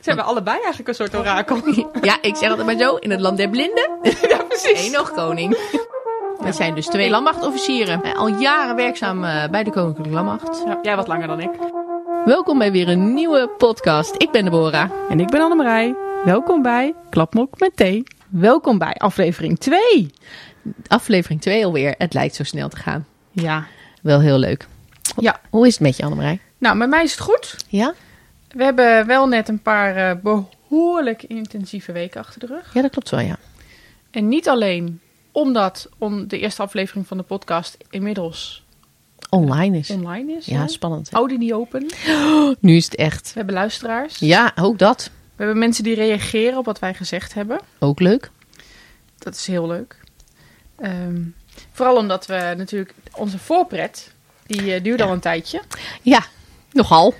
Zijn we allebei eigenlijk een soort orakel? Ja, ik zeg altijd maar zo, in het land der blinden, ja, precies. één nog koning. We zijn dus twee landmachtofficieren, eh, al jaren werkzaam eh, bij de Koninklijke Landmacht. Ja, jij wat langer dan ik. Welkom bij weer een nieuwe podcast. Ik ben Deborah. En ik ben Annemarij. Welkom bij Klapmok met thee. Welkom bij aflevering 2. Aflevering 2 alweer, het lijkt zo snel te gaan. Ja. Wel heel leuk. Ja. Hoe is het met je, Annemarij? Nou, met mij is het goed. Ja? We hebben wel net een paar eh, behoorlijk intensieve weken achter de rug. Ja, dat klopt wel, ja. En niet alleen omdat om de eerste aflevering van de podcast inmiddels Online is. online is. hè? Ja, spannend. hè? Audi niet open. We Nu is het echt. hebben luisteraars. Ja, ook dat. We hebben mensen die reageren op wat wij gezegd hebben. Ook leuk. Dat is heel leuk. Ehm, vooral omdat we natuurlijk onze voorpret, die eh, duurde al een tijdje. Ja, nogal.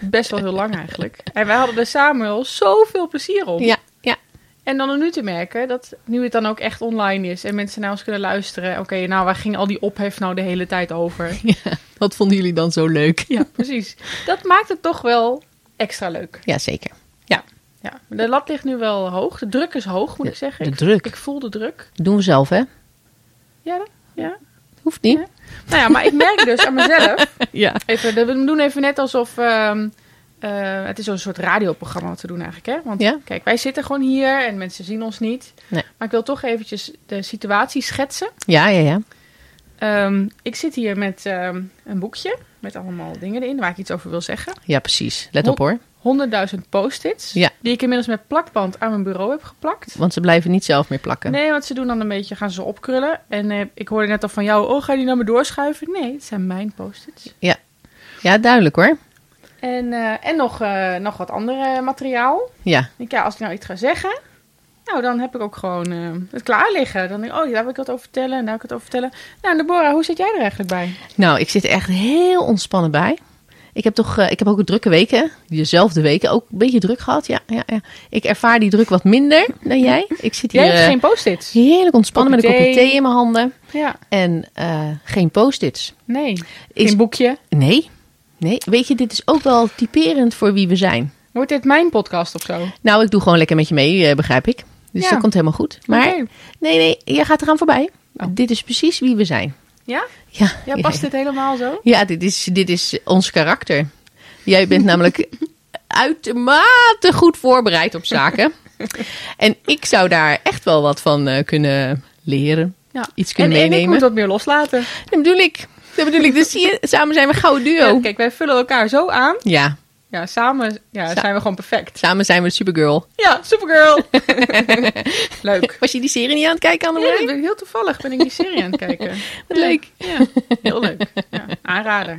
Best wel heel lang eigenlijk. En wij hadden er samen al zoveel plezier op. Ja, ja. En dan om nu te merken dat nu het dan ook echt online is en mensen naar ons kunnen luisteren. Oké, nou waar ging al die ophef nou de hele tijd over? Wat vonden jullie dan zo leuk? Ja, precies. Dat maakt het toch wel extra leuk. Ja, zeker. Ja, de lat ligt nu wel hoog. De druk is hoog, moet ik zeggen. de Ik- druk. Ik voel de druk. Doen we zelf, hè? Ja, dat- ja. Hoeft niet. Ja. Nou ja, maar ik merk dus aan mezelf Ja. Even, de- we doen even net alsof. ehm, eh, het is een soort radioprogramma wat we doen eigenlijk. Hè? Want Ja. kijk, wij zitten gewoon hier en mensen zien ons niet. Nee. Maar ik wil toch eventjes de situatie schetsen. Ja, ja, ja. Ehm, ik zit hier met ehm, een boekje met allemaal dingen erin waar ik iets over wil zeggen. Ja, precies. Let Ho- op hoor. 100.000 post-its. Ja. Die ik inmiddels met plakband aan mijn bureau heb geplakt. Want ze blijven niet zelf meer plakken. Nee, want ze doen dan een beetje, gaan ze opkrullen. En eh, ik hoorde net al van jou, oh, ga je die naar me doorschuiven? Nee, het zijn mijn post-its. Ja, duidelijk hoor. En, eh, en nog, eh, nog wat andere materiaal. Ja. Ik denk, ja, als ik nou iets ga zeggen, nou dan heb ik ook gewoon eh, het klaar liggen. Dan denk ik, oh, daar wil ik wat over vertellen en daar wil ik wat over vertellen. Nou, Deborah, hoe zit jij er eigenlijk bij? Nou, ik zit er echt heel ontspannen bij. Ik heb toch, eh, ik heb ook een drukke weken. Diezelfde weken ook een beetje druk gehad. Ja, ja, ja. Ik ervaar die druk wat minder dan jij. Ik zit hier Jij hebt eh, geen post-its. heerlijk ontspannen met een Kopje kopje thee. thee in mijn handen. Ja, En eh, geen post-its. nee. Is- Geen boekje. Nee. Nee. Weet je, dit is ook wel typerend voor wie we zijn. Wordt dit mijn podcast of zo? Nou, ik doe gewoon lekker met je mee, eh, begrijp ik. Dus Ja. dat komt helemaal goed. Maar Oké. nee, nee, je gaat eraan voorbij. Oh. Dit is precies wie we zijn. Ja? Ja, Ja, past dit helemaal zo? Ja, dit is, dit is ons karakter. Jij bent namelijk uitermate goed voorbereid op zaken. en ik zou daar echt wel wat van eh, kunnen leren. Ja. Iets En, kunnen en ik meenemen. moet wat meer loslaten. Dat bedoel ik. Dat bedoel ik. Dus zie je, samen zijn we een gouden duo. Ja, Ja, kijk, wij vullen elkaar zo aan. Ja, samen ja, Sa- zijn we gewoon perfect. samen zijn we Supergirl. Ja, supergirl. Leuk. Was je die serie niet aan het kijken, Ja, dat Annemarie? ben- heel toevallig ben ik die serie aan het kijken. Wat leuk. Ja, heel leuk. Ja, aanraden.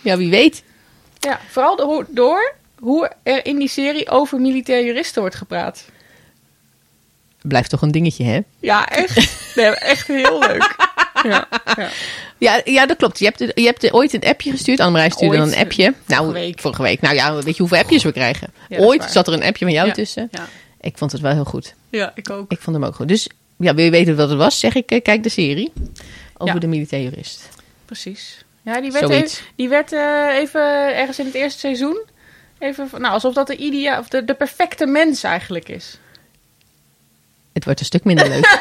Ja, wie weet. Ja, vooral do- door hoe er in die serie over militair juristen wordt gepraat. Blijft toch een dingetje, hè? Ja, echt. Nee, maar echt heel leuk. Ja, ja. Ja, ja dat klopt. Je hebt, je hebt ooit een appje gestuurd. Annemarij stuurde Ooit. een appje. Nou, week. vorige week. Nou ja, weet je hoeveel appjes we krijgen? Ja, dat is ooit waar. zat er een appje van jou Ja. tussen. Ja. Ik vond het wel heel goed. ik ook. Ik vond hem ook goed. Dus ja, wil je weten wat het was? Zeg ik, eh, kijk de serie over Ja. de militair jurist. Precies. Ja, die werd, Zoiets. even, die werd eh, even ergens in het eerste seizoen. Even, van- nou, alsof dat de, idea, of de, de perfecte mens eigenlijk is. Het wordt een stuk minder leuk.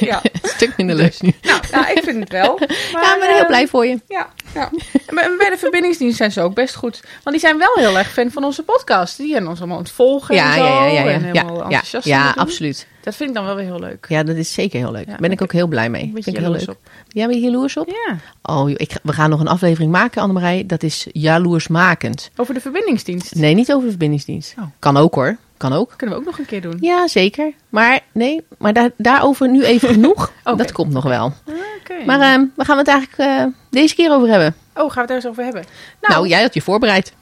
Ja, een stuk minder leuk nu. nou, nou, ik vind het wel. Maar, ja, ik ben heel eh, blij voor je. Ja, ja. Maar bij de verbindingsdienst zijn ze ook best goed. Want die zijn wel heel erg fan van onze podcast. Die zijn ons allemaal aan het volgen Ja, en zo. ja, ja, ja. En Ja, helemaal ja, ja, enthousiast. aan ja het doen. absoluut. Dat vind ik dan wel weer heel leuk. Ja, dat is zeker heel leuk. Ja, Daar ben ik ook heel blij mee. Een beetje Vind ik heel jaloers leuk. op. Ja, ben je jaloers op? Ja. Oh, joh, ik, ga- we gaan nog een aflevering maken, Annemarij. Dat is jaloersmakend. Over de verbindingsdienst. Nee, niet over de verbindingsdienst. Oh. Kan ook hoor. Kan ook. Dat kunnen we ook nog een keer doen. Ja, zeker. Maar nee, maar daar, daarover nu even genoeg. Oké. Dat komt nog wel. Ah, Oké. Maar eh, waar gaan we het eigenlijk eh, deze keer over hebben? oh, gaan we het ergens over hebben? Nou, Nou, nou, ja. jij had je voorbereid.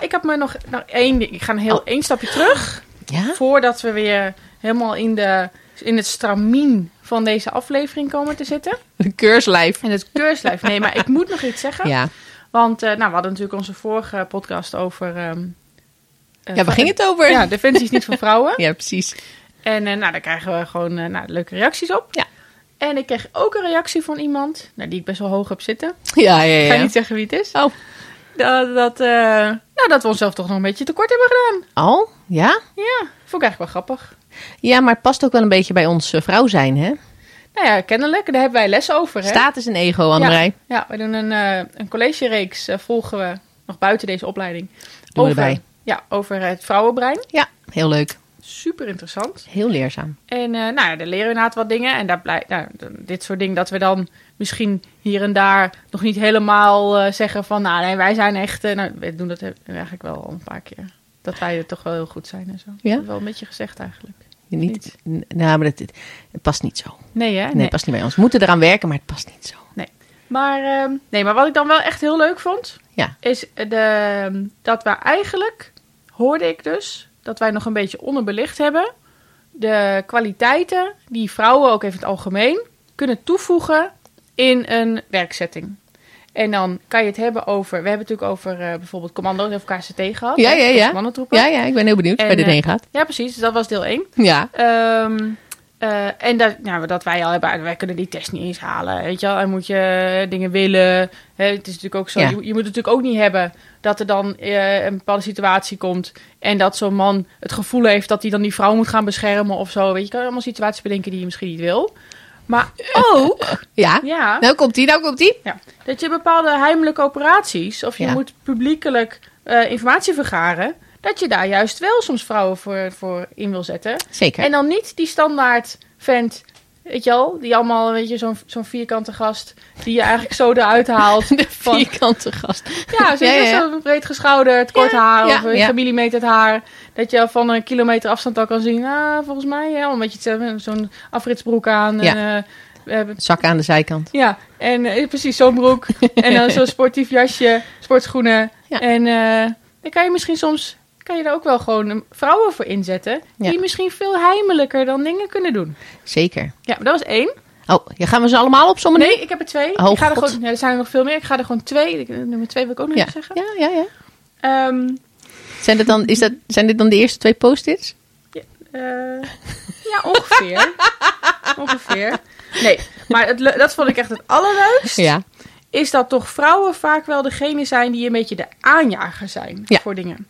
ik heb me nog, nog één ding. Ik ga een heel Oh. één stapje terug. Ja? Voordat we weer helemaal in, de, in het stramien van deze aflevering komen te zitten. Een keurslijf. En het keurslijf. Nee, maar ik moet nog iets zeggen. Ja. Want eh, nou, we hadden natuurlijk onze vorige podcast over. ehm, eh, ja, waar van- ging het over? Ja, defensie is niet voor vrouwen. Ja, precies. En eh, nou, daar krijgen we gewoon eh, nou, leuke reacties op. Ja. En ik kreeg ook een reactie van iemand, nou, die ik best wel hoog heb zitten. Ja, Oh. ja, Ik ga ja. niet zeggen wie het is. Oh. Dat, dat eh, Nou, dat we onszelf toch nog een beetje tekort hebben gedaan. Al? Ja? Ja, vond ik eigenlijk wel grappig. Ja, maar het past ook wel een beetje bij ons eh, vrouw zijn, hè? Nou ja, kennelijk. Daar hebben wij les over. Hè? Status en ego, André. Ja, ja we doen een, eh, een collegereeks, eh, volgen we nog buiten deze opleiding. Doen we erbij. Ja, over het vrouwenbrein. Ja, heel leuk. Super interessant. Heel leerzaam. En eh, nou ja, daar leren we inderdaad wat dingen. En daar blijkt, nou, d- dit soort dingen dat we dan misschien hier en daar nog niet helemaal eh, zeggen van... Nou, nee, wij zijn echt... eh, nou, we doen dat he- eigenlijk wel al een paar keer. Dat wij er toch wel heel goed zijn en zo. Ja? Wel een beetje gezegd eigenlijk. Niet, n- nou, maar het, het- het past niet zo. Eh, Nee, hè? Nee, het past niet bij ons. We moeten eraan werken, maar het past niet zo. Maar, ehm, nee, maar wat ik dan wel echt heel leuk vond, Ja. is de, dat we eigenlijk, hoorde ik dus, dat wij nog een beetje onderbelicht hebben. De kwaliteiten die vrouwen ook even in het algemeen kunnen toevoegen in een werkzetting. En dan kan je het hebben over, we hebben het natuurlijk over eh, bijvoorbeeld commando's of KCT gehad. Ja, hè, ja, ja. Korps Commandotroepen. Ja, ja, ik ben heel benieuwd En, waar dit eh, heen gaat. Ja, precies. Dus dat was deel 1. Ja. Ehm, eh, en dat, nou, dat wij al hebben, wij kunnen die test niet eens halen. Weet je wel, en moet je dingen willen. Hè, het is natuurlijk ook zo, Ja. je, je moet het natuurlijk ook niet hebben dat er dan eh, een bepaalde situatie komt. En dat zo'n man het gevoel heeft dat hij dan die vrouw moet gaan beschermen of zo. Weet je, je kan allemaal situaties bedenken die je misschien niet wil. Maar ook, Ja. ja, Nou komt die, nou komt die. ja, dat je bepaalde heimelijke operaties of je Ja. moet publiekelijk eh, informatie vergaren. Dat je daar juist wel soms vrouwen voor, voor in wil zetten. Zeker. En dan niet die standaard vent, weet je wel, die allemaal, weet je, zo'n zo'n vierkante gast die je eigenlijk zo eruit haalt. de van- vierkante gast. Ja, zo, Ja, ja, ja. zo breed geschouderd, kort haar ja, of eh, een ja. gemillimeterd haar. Dat je van een kilometer afstand al kan zien, ah, volgens mij, ja, een beetje hetzelfde, eh, zo'n afritsbroek aan. En, eh, eh, Zak aan de zijkant. ja, en eh, precies zo'n broek. en dan zo'n sportief jasje, sportschoenen. Ja. En eh, dan kan je misschien soms, kan je daar ook wel gewoon eh, vrouwen voor inzetten. Ja. Die misschien veel heimelijker dan dingen kunnen doen. Zeker. Ja, maar dat was één. Oh, ja, gaan we ze allemaal opzommen nu? Nee, ik heb er twee. Oh, ik ga er, God. gewoon, ja, er zijn er nog veel meer. Ik ga er gewoon twee. Ik- Nummer twee wil ik ook nog Ja. even zeggen. ja, ja, ja. Ehm, Zijn, dit dan, is dat, zijn dit dan de eerste twee post-its? eh, ja, ongeveer. ongeveer. Nee, maar het, le- dat vond ik echt het allerleukst. Ja. Is dat toch vrouwen vaak wel degene zijn die een beetje de aanjager zijn Ja. voor dingen.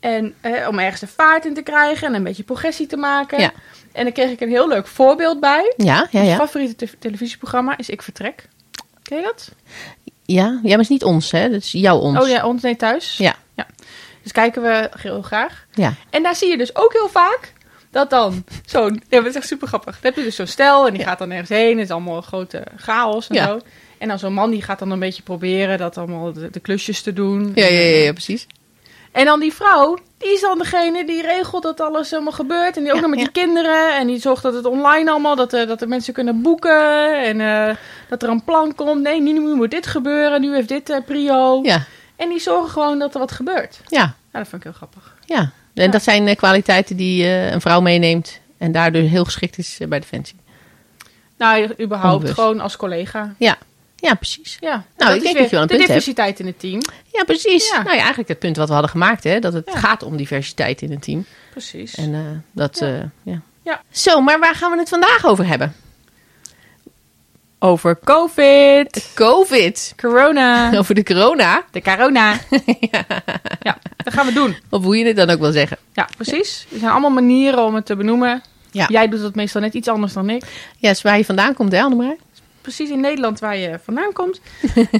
En eh, om ergens de vaart in te krijgen en een beetje progressie te maken. Ja. En dan kreeg ik een heel leuk voorbeeld bij. Ja, ja, Mijn ja. favoriete te- televisieprogramma is Ik Vertrek. Ken je dat? Ja, ja, maar het is niet ons, hè? Dat is jouw ons. Oh ja, ons nee thuis. Ja. Dus kijken we heel graag. Ja. En daar zie je dus ook heel vaak dat dan zo'n... Ja, maar het is echt super grappig. Dan heb je dus zo'n stel en die gaat dan ergens heen. Het is allemaal een grote chaos en Ja. zo. En dan zo'n man die gaat dan een beetje proberen dat allemaal de, de klusjes te doen. Ja, ja, ja, ja, precies. En dan die vrouw, die is dan degene die regelt dat alles helemaal gebeurt. En die ook Ja, nog met ja. die kinderen. En die zorgt dat het online allemaal, dat, eh, dat de mensen kunnen boeken. En eh, dat er een plan komt. Nee, nu, nu moet dit gebeuren. Nu heeft dit eh, prio. Ja, En die zorgen gewoon dat er wat gebeurt. ja, Ja, dat vond ik heel grappig. ja. En dat zijn eh, kwaliteiten die eh, een vrouw meeneemt en daardoor heel geschikt is eh, bij Defensie. Nou, überhaupt Onbewust. gewoon als collega. Ja, ja, precies. Ja, nou, ik denk dat je wel een de punt hebt. diversiteit in het team. Ja, precies. Ja. Nou ja, eigenlijk het punt wat we hadden gemaakt, hè? Dat het Ja. gaat om diversiteit in het team. Precies. En eh, dat, Ja. ja. ja. Ja. Zo, maar waar gaan we het vandaag over hebben? Over COVID, COVID. corona, Over de corona. de corona. ja. dat gaan we doen. Of hoe je dit dan ook wil zeggen. Ja, precies. Er zijn allemaal manieren om het te benoemen. Ja. Jij doet dat meestal net iets anders dan ik. Ja, is waar je vandaan komt, hè, Annemarie? Precies in Nederland waar je vandaan komt.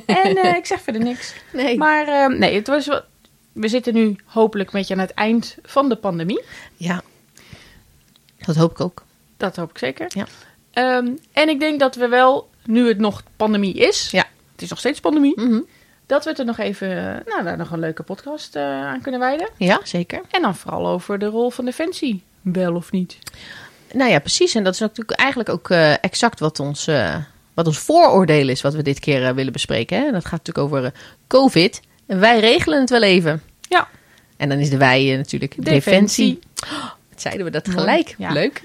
en eh, ik zeg verder niks. Nee. Maar eh, nee, het was wel... we zitten nu hopelijk een beetje aan het eind van de pandemie. Ja. Dat hoop ik ook. Dat hoop ik zeker. Ja. Ehm, en ik denk dat we wel, nu het nog pandemie is, Ja. het is nog steeds pandemie, Mhm. dat we het er nog even, eh, nou, daar nog een leuke podcast eh, aan kunnen wijden. Ja, zeker. En dan vooral over de rol van Defensie. Wel of niet? Nou ja, precies. En dat is natuurlijk eigenlijk ook eh, exact wat ons, eh, wat ons vooroordeel is, wat we dit keer eh, willen bespreken. Hè? En dat gaat natuurlijk over eh, COVID. En wij regelen het wel even. Ja. En dan is de wij eh, natuurlijk defensie. Wat zeiden we dat Mooi. gelijk? Ja. Leuk.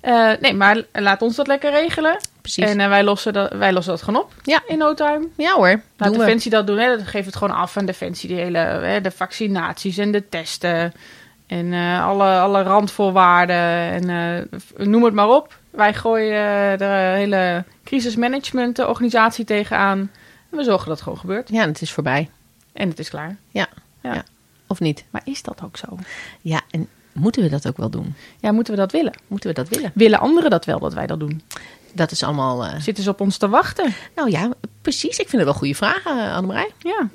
Eh, nee, maar laat ons dat lekker regelen. Precies. En eh, wij, lossen dat, wij lossen dat gewoon op Ja. in no time. ja hoor. eh, Laat Doen we. Defensie dat doen. Hè? Dat geeft het gewoon af aan Defensie. De, hele, hè, de vaccinaties en de testen. En eh, alle, alle randvoorwaarden. En eh, f- noem het maar op. Wij gooien eh, de hele crisismanagement eh, organisatie tegenaan. En we zorgen dat het gewoon gebeurt. Ja, het is voorbij. En het is klaar. Ja. Ja. Ja. Of niet? Maar is dat ook zo? Ja, en moeten we dat ook wel doen? Ja, moeten we dat willen? Moeten we dat willen? Willen anderen dat wel, dat wij dat doen? Dat is allemaal... eh, Zitten ze op ons te wachten? nou ja, precies. Ik vind het wel goede vragen, eh, Annemarij. Ja.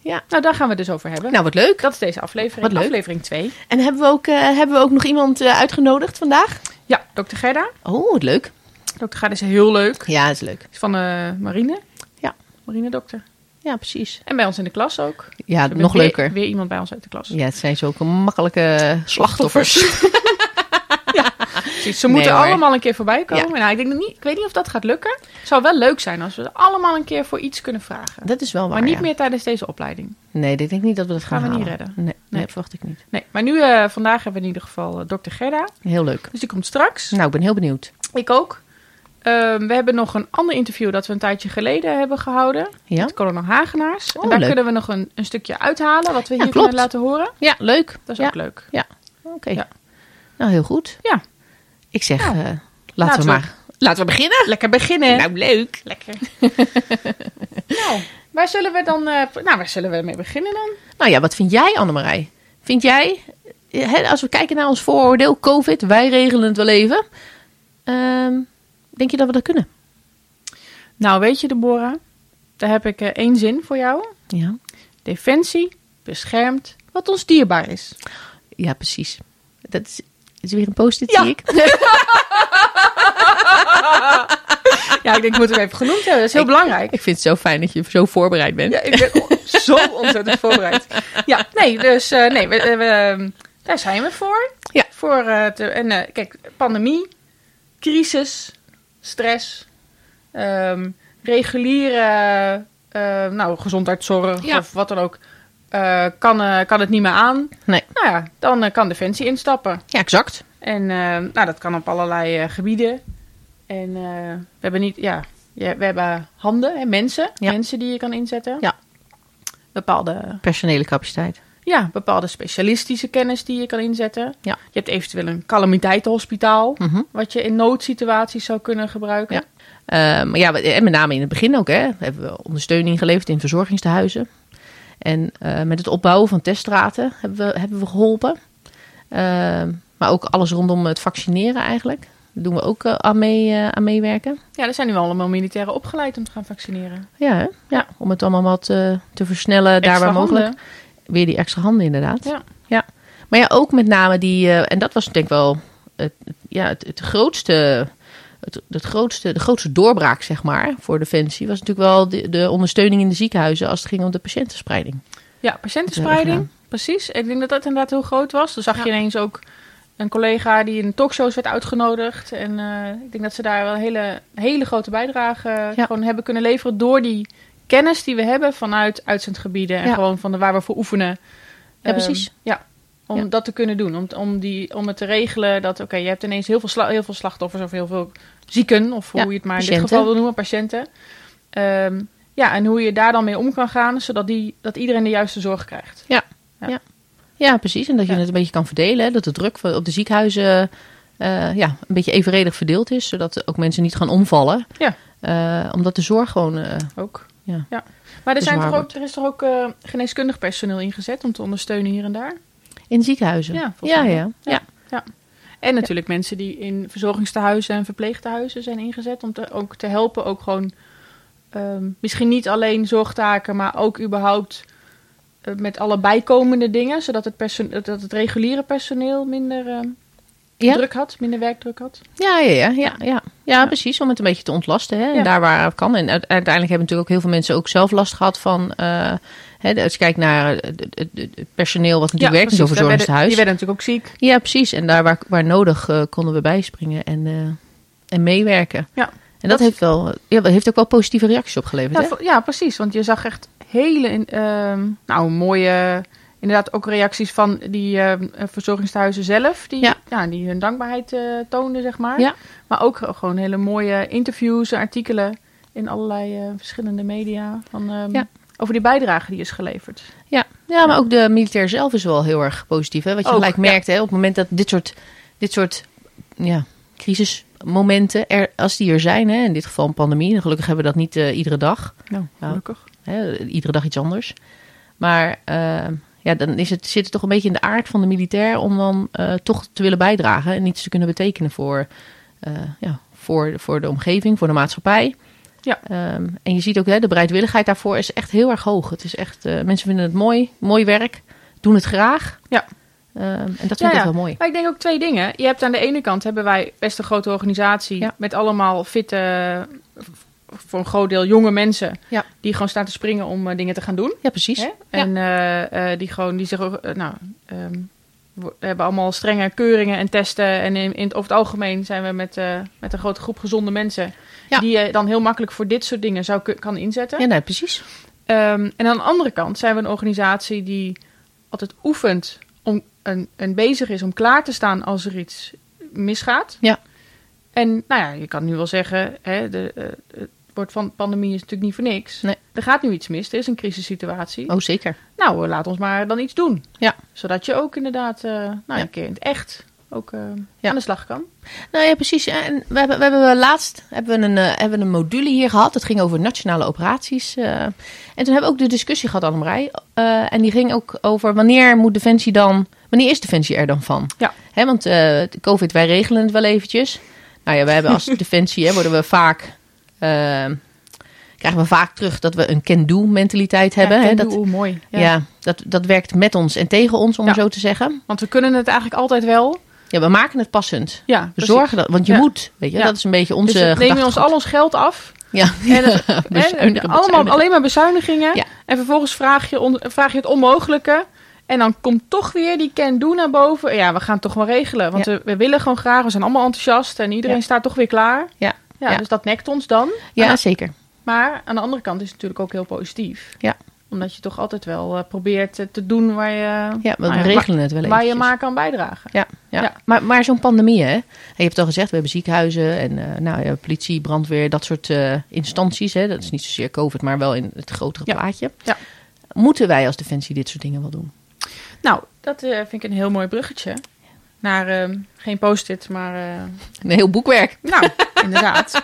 Ja. Nou, daar gaan we het dus over hebben. Nou, wat leuk. dat is deze aflevering. Wat leuk. Aflevering 2. En hebben we ook, eh, hebben we ook nog iemand eh, uitgenodigd vandaag? Ja, dokter Gerda. Oh, wat leuk. Dokter Gerda is heel leuk. Ja, dat is leuk. Is van eh, Marine. Ja. Marine dokter. Ja, precies. En bij ons in de klas ook. Dus We Ja, hebben nog weer- leuker. Weer iemand bij ons uit de klas. Ja, het zijn zulke makkelijke slachtoffers. Precies, ze Nee, moeten hoor. allemaal een keer voorbij komen. Nou, ik, denk dat niet, ik weet niet of dat gaat lukken. Het zou wel leuk zijn als we ze allemaal een keer voor iets kunnen vragen. Dat is wel waar, maar niet ja. meer tijdens deze opleiding. Nee, ik denk niet dat we dat gaan Gaan we niet halen. redden. Nee, nee, Nee. dat verwacht ik niet. Nee, maar nu, eh, vandaag hebben we in ieder geval eh, dokter Gerda. Heel leuk. Dus die komt straks. Nou, ik ben heel benieuwd. Ik ook. Ehm, we hebben nog een ander interview dat we een tijdje geleden hebben gehouden. Ja? Met kolonel Hagenaars. Oh, en daar leuk. kunnen we nog een, een stukje uithalen wat we Ja, hier klopt. kunnen laten horen. Ja, leuk. Dat is ja. ook leuk. Oké. Ja. Nou, heel goed. Ja. Ik zeg, Ja. eh, laten, Laten we we. Eh. maar... Laten we beginnen. Lekker beginnen. Nou, leuk. Lekker. nou, waar zullen we dan... eh, nou, waar zullen we mee beginnen dan? Nou ja, wat vind jij, Annemarij? Vind jij, eh, hè, als we kijken naar ons vooroordeel, COVID, wij regelen het wel even. Ehm, denk je dat we dat kunnen? Nou, weet je, Deborah, daar heb ik eh, één zin voor jou. Ja. Defensie beschermt wat ons dierbaar is. Ja, precies. Dat is, is weer een post-it, Ja. zie ik. Ja, ik denk, ik moet hem even genoemd hebben. Dat is heel Ik- belangrijk. ik vind het zo fijn dat je zo voorbereid bent. Ja, ik ben on- zo ontzettend voorbereid. Ja, nee, dus eh, nee, we, we- daar zijn we voor. Ja. Voor, eh, te- en eh, kijk, pandemie, crisis, stress, ehm, reguliere eh, nou, gezondheidszorg Ja. of wat dan ook, eh, kan, eh, kan het niet meer aan. Nee. Nou ja, dan eh, kan Defensie instappen. Ja, exact. En eh, nou, dat kan op allerlei eh, gebieden. En eh, we hebben niet, ja, ja, we hebben handen, hè, mensen, Ja. mensen die je kan inzetten. Ja. Bepaalde, Personele capaciteit. ja, bepaalde specialistische kennis die je kan inzetten. Ja. Je hebt eventueel een calamiteitenhospitaal, Mhm. wat je in noodsituaties zou kunnen gebruiken. Ja. Eh, maar ja, en met name in het begin ook. Hè, hebben we ondersteuning geleverd in verzorgingstehuizen. En eh, met het opbouwen van teststraten hebben we, hebben we geholpen. Eh, maar ook alles rondom het vaccineren eigenlijk. Daar doen we ook eh, aan, mee, eh, aan meewerken. Ja, er zijn nu allemaal militairen opgeleid om te gaan vaccineren. Ja, hè? ja, om het allemaal wat eh, te versnellen daar Extra waar mogelijk. handen. Weer die extra handen inderdaad. Ja. ja. Maar ja, ook met name die... eh, en dat was denk ik wel het, het- ja, het, het grootste... Het, het grootste, de grootste doorbraak, zeg maar, voor Defensie... was natuurlijk wel de, de ondersteuning in de ziekenhuizen... als het ging om de patiëntenspreiding. Ja, Dat hebben patiëntenspreiding. Precies. Ik denk dat dat inderdaad heel groot was. Dan zag je ineens ook een collega die in talkshows werd uitgenodigd. En eh, ik denk dat ze daar wel een hele, hele grote bijdrage eh, Ja. gewoon hebben kunnen leveren door die kennis die we hebben vanuit uitzendgebieden en Ja. gewoon van de, waar we voor oefenen. Ja, Ehm, precies. Ja. Om Ja. dat te kunnen doen. Om, om, die, om het te regelen dat, oké, je hebt ineens heel veel, sla- heel veel slachtoffers of heel veel zieken, of Ja, hoe je het maar in patiënten. dit geval wil noemen, patiënten. Ehm, ja, en hoe je daar dan mee om kan gaan, zodat die, dat iedereen de juiste zorg krijgt. Ja, precies. En dat je Ja. het een beetje kan verdelen. Hè? Dat de druk van- op de ziekenhuizen eh, ja, een beetje evenredig verdeeld is... zodat ook mensen niet gaan omvallen. Ja. Eh, omdat de zorg gewoon... eh, Ook. Ja. Maar er, Dus zijn waar toch ook, wordt- er is toch ook eh, geneeskundig personeel ingezet om te ondersteunen hier en daar? in ziekenhuizen. Ja, volgens ja, mij ja. wel. ja. En natuurlijk mensen die in verzorgingstehuizen en verpleegtehuizen zijn ingezet om te, ook te helpen. Ook gewoon ehm, misschien niet alleen zorgtaken, maar ook überhaupt eh, met alle bijkomende dingen. Zodat het, perso- dat het reguliere personeel minder ehm, Ja. druk had, minder werkdruk had. Ja, ja, ja, ja, ja. ja, precies. Om het een beetje te ontlasten. Hè? En Ja. Daar waar het kan. En uite- uiteindelijk hebben natuurlijk ook heel veel mensen ook zelf last gehad van. eh, hè, als je kijkt naar eh, het- het het- het personeel wat natuurlijk werkt in zo'n precies. Daar werden- verzorgingshuis. Die werden natuurlijk ook ziek. Ja, precies. En daar waar, waar nodig eh, konden we bijspringen en, eh, en meewerken. Ja. En dat, Dat- heeft, wel, ja, dat heeft ook wel positieve reacties opgeleverd. Ja, hè? vo- ja, precies. Want je zag echt hele, in- ehm, nou, mooie, inderdaad ook reacties van die ehm, verzorgingstehuizen zelf. Die, Ja. ja. die hun dankbaarheid eh, toonden, zeg maar. Ja. Maar ook ge- gewoon hele mooie interviews en artikelen in allerlei eh, verschillende media. Van, ehm, Ja. Over die bijdrage die is geleverd. Ja, ja maar ook de militair zelf is wel heel erg positief. Hè? Wat je Ook, gelijk ja. merkt, hè? op het moment dat dit soort, dit soort ja, crisismomenten, er, als die er zijn, hè? in dit geval een pandemie, en gelukkig hebben we dat niet eh, iedere dag. Nou, Ja. gelukkig. Hè? Iedere dag iets anders. Maar eh, ja, dan is het, zit het toch een beetje in de aard van de militair om dan eh, toch te willen bijdragen en iets te kunnen betekenen voor, eh, ja, voor, voor de omgeving, voor de maatschappij. Ja. Ehm, en je ziet ook, hè, de bereidwilligheid daarvoor is echt heel erg hoog. Het is echt, eh, mensen vinden het mooi, mooi werk, doen het graag. Ja. Ehm, en dat Ja, vind ik ja. wel mooi. Maar ik denk ook twee dingen. Je hebt aan de ene kant hebben wij best een grote organisatie Ja. met allemaal fitte, voor een groot deel jonge mensen, Ja. die gewoon staan te springen om eh, dingen te gaan doen. Ja, precies. Hè? En eh, eh, die gewoon, die zich, ook, eh, nou, ehm, wo- hebben allemaal strenge keuringen en testen. En in, in het, over het algemeen zijn we met, eh, met een grote groep gezonde mensen. Ja. Die je dan heel makkelijk voor dit soort dingen zou ku- kan inzetten. Ja, nee, precies. Ehm, en aan de andere kant zijn we een organisatie die altijd oefent om, en, en bezig is om klaar te staan als er iets misgaat. Ja. En nou ja, je kan nu wel zeggen, hè, de, eh, het woord van pandemie is natuurlijk niet voor niks. Nee. Er gaat nu iets mis, er is een crisissituatie. Oh, zeker. Nou, eh, laat ons maar dan iets doen. Ja. Zodat je ook inderdaad eh, nou, Ja. een keer in het echt ook eh, Ja. aan de slag kan. Nou ja, precies. En we hebben, we hebben laatst hebben we een, eh, hebben we een module hier gehad. Het ging over nationale operaties. eh. en toen hebben we ook de discussie gehad, Annemarij. Eh en die ging ook over wanneer moet Defensie dan... Wanneer is Defensie er dan van? Ja. Hè, want eh, de COVID, wij regelen het wel eventjes. Nou ja, wij hebben als Defensie hè, worden we vaak... eh, krijgen we vaak terug dat we een can-do mentaliteit hebben. Ja, hè, can dat, do, mooi. ja, dat, dat werkt met ons en tegen ons, om Ja. het zo te zeggen. Want we kunnen het eigenlijk altijd wel. Ja, we maken het passend. Ja, We precies. zorgen dat, want je Ja. moet, weet je, Ja. dat is een beetje onze dus het nemen gedachtegoed. ons al ons geld af. Ja, En het- Ja, Hè, bezuinigen, allemaal, bezuinigen. alleen maar bezuinigingen. Ja. En vervolgens vraag je, on- vraag je het onmogelijke. En dan komt toch weer die can do naar boven. Ja, we gaan het toch wel regelen. Want we, we willen gewoon graag. We zijn allemaal enthousiast. En iedereen Ja. staat toch weer klaar. Ja. Ja, Ja. Dus dat nekt ons dan. Ja, Maar- zeker. Maar aan de andere kant is het natuurlijk ook heel positief. Ja. Omdat je toch altijd wel eh, probeert eh, te doen waar je, Ah Ja, we nou ja, regelen het wel waar, even. waar je maar kan bijdragen. Ja, ja. Ja. Maar, maar zo'n pandemie, hè? En Je hebt het al gezegd, we hebben ziekenhuizen en eh, nou, ja, politie, brandweer, dat soort eh, instanties. Hè? Dat is niet zozeer COVID, maar wel in het grotere Ja. plaatje. Ja. Moeten wij als Defensie dit soort dingen wel doen? Nou, dat eh, vind ik een heel mooi bruggetje. Naar eh, geen post-it, maar eh, Een heel boekwerk. Nou, inderdaad.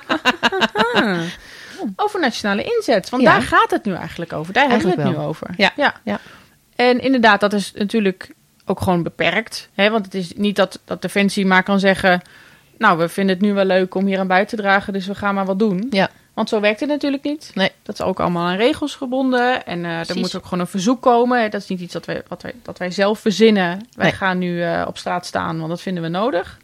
over nationale inzet. Want Ja. daar gaat het nu eigenlijk over. Daar Eigenlijk hebben we het wel. nu over. Ja. Ja. Ja. En inderdaad, dat is natuurlijk ook gewoon beperkt. Hè? Want het is niet dat, dat Defensie maar kan zeggen... nou, we vinden het nu wel leuk om hier aan bij te dragen... dus we gaan maar wat doen. Ja. Want zo werkt het natuurlijk niet. Nee. Dat is ook allemaal aan regels gebonden. En eh er Precies. moet ook gewoon een verzoek komen. hè. Dat is niet iets dat wij, wat wij, dat wij zelf verzinnen. Wij Nee. gaan nu eh, op straat staan, want dat vinden we nodig.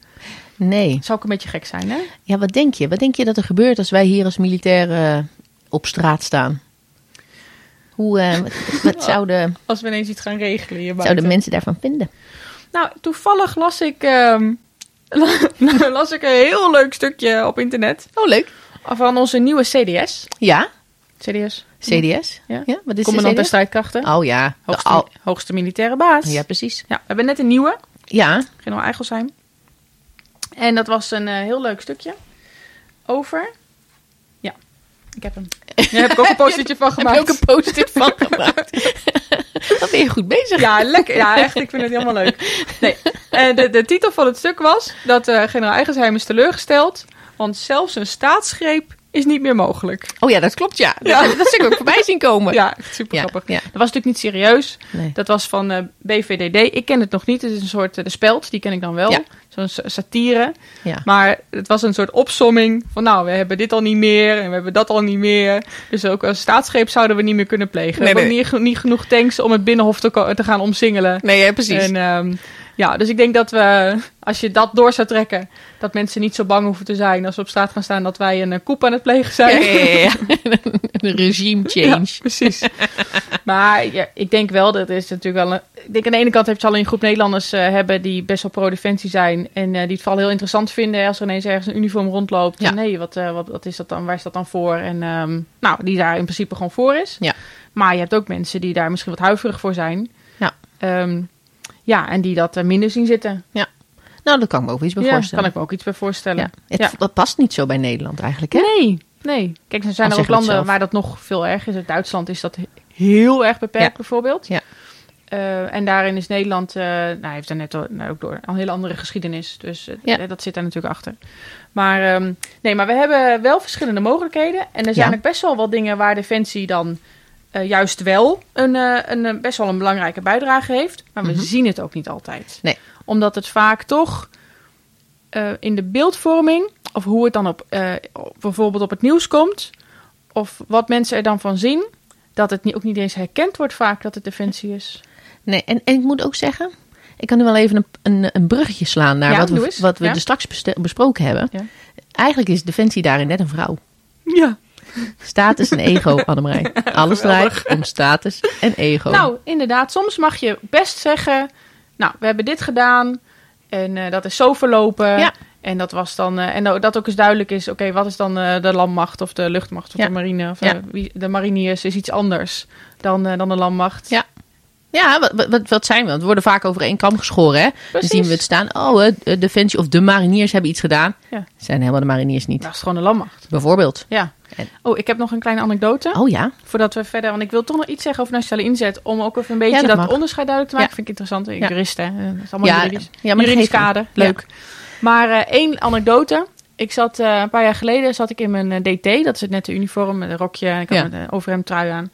Nee. Zou ook een beetje gek zijn, hè? Ja, wat denk je? Wat denk je dat er gebeurt als wij hier als militairen eh, op straat staan? Hoe, eh, wat, wat zouden, Als we ineens iets gaan regelen hier zouden buiten. mensen daarvan vinden? Nou, toevallig las ik, ehm, las ik een heel leuk stukje op internet Oh, leuk. van onze nieuwe CDS. Ja, CDS, CDS. Ja. wat is de commandant der CDS? strijdkrachten. Oh ja, de Hoogste, al- hoogste militaire baas. Ja, precies. Ja, we hebben net een nieuwe, Ja, generaal Eigelsheim. En dat was een eh, heel leuk stukje over... Ja, ik heb hem. Daar heb ik ook een postertje van heb gemaakt. je ook een post-it van gemaakt. Dan ben je goed bezig. Ja, lekker. Ja, echt. Ik vind het helemaal leuk. Nee, eh, de, de titel van het stuk was dat eh, generaal Eigensheim is teleurgesteld, want zelfs een staatsgreep is niet meer mogelijk. Oh ja, dat klopt, ja. Dat, Ja. dat heb ik ook voorbij zien komen. Ja, echt super grappig. ja. Dat was natuurlijk niet serieus. Nee. Dat was van eh, BVDD. Ik ken het nog niet. Het is een soort eh, de speld, die ken ik dan wel. Ja. Zo'n sa- satire. Ja. Maar het was een soort opsomming van nou, we hebben dit al niet meer en we hebben dat al niet meer. Dus ook een staatsgreep zouden we niet meer kunnen plegen. Nee, we nee. hebben niet, niet genoeg tanks om het binnenhof te, ko- te gaan omsingelen. Nee, ja, precies. En, ehm, ja, dus ik denk dat we, als je dat door zou trekken, dat mensen niet zo bang hoeven te zijn als we op straat gaan staan dat wij een eh, koep aan het plegen ja, zijn. ja, ja, ja. Een regime change. Ja, precies. maar ja, ik denk wel, dat is natuurlijk wel een... Ik denk aan de ene kant heb je al een groep Nederlanders eh, hebben die best wel pro-defensie zijn. En eh, die het vooral heel interessant vinden als er ineens ergens een uniform rondloopt. Ja. En nee, wat, eh, wat, wat is dat dan? Waar is dat dan voor? En ehm, nou, die daar in principe gewoon voor is. Ja. Maar je hebt ook mensen die daar misschien wat huiverig voor zijn. Ja. Ehm, ja, en die dat eh, minder zien zitten. Nou, daar kan ik me ook iets bij Ja, voorstellen. kan ik me ook iets bij voorstellen. Ja. Het, Ja. Dat past niet zo bij Nederland eigenlijk, hè? Nee, nee. Kijk, er zijn Al er ook zeggen we het landen zelf. waar dat nog veel erger is. In Duitsland is dat heel erg beperkt, Ja. bijvoorbeeld. Ja. Eh, en daarin is Nederland, eh nou, heeft daar net al, nou, ook door, een hele andere geschiedenis. Dus eh, Ja. eh, dat zit daar natuurlijk achter. Maar, ehm, nee, maar we hebben wel verschillende mogelijkheden. En er zijn Ja. ook best wel wat dingen waar Defensie dan eh, juist wel een, eh, een, eh, best wel een belangrijke bijdrage heeft. Maar we Mhm. zien het ook niet altijd. Nee. Omdat het vaak toch eh, in de beeldvorming, of hoe het dan op, eh, op- bijvoorbeeld op het nieuws komt, of wat mensen er dan van zien, dat het ni- ook niet eens herkend wordt vaak dat het defensie is. Nee, en, en ik moet ook zeggen, ik kan nu wel even een, een, een bruggetje slaan naar Ja, wat doe we, eens. wat we Ja. er straks beste- besproken hebben. Ja. Eigenlijk is Defensie daarin net een vrouw. Ja. Status en ego, Annemarij. Alles draait om status en ego. Nou, inderdaad, soms mag je best zeggen: Nou, we hebben dit gedaan en eh, dat is zo verlopen. Ja. En dat was dan, eh, en dat ook eens duidelijk is: oké, wat is dan eh, de landmacht of de luchtmacht of Ja. de marine of Ja. eh, wie- de mariniers is iets anders dan, eh, dan de landmacht. Ja. Ja, wat, wat, wat zijn we? Want we worden vaak over één kam geschoren. Hè? Dan Precies. zien we het staan. Oh, eh, de Defensie of de mariniers hebben iets gedaan. Ja. Nou. Zijn helemaal de mariniers niet. Dat is gewoon de landmacht. Bijvoorbeeld. Ja. En- Oh, ik heb nog een kleine anekdote. Oh ja. Voordat we verder, want ik wil toch nog iets zeggen over nationale inzet. Om ook even een beetje Ja, dat dat, mag. onderscheid duidelijk te maken. Ja. Vind ik interessant. Ja. Juristen, hè. dat is allemaal Ja, juridisch. ja, maar juridisch geef hem. kader. Leuk. Maar eh, één anekdote. Ik zat eh, een paar jaar geleden zat ik in mijn eh, DT. Dat is het nette uniform met een rokje. En ik had Ja. een eh, overhemd trui aan.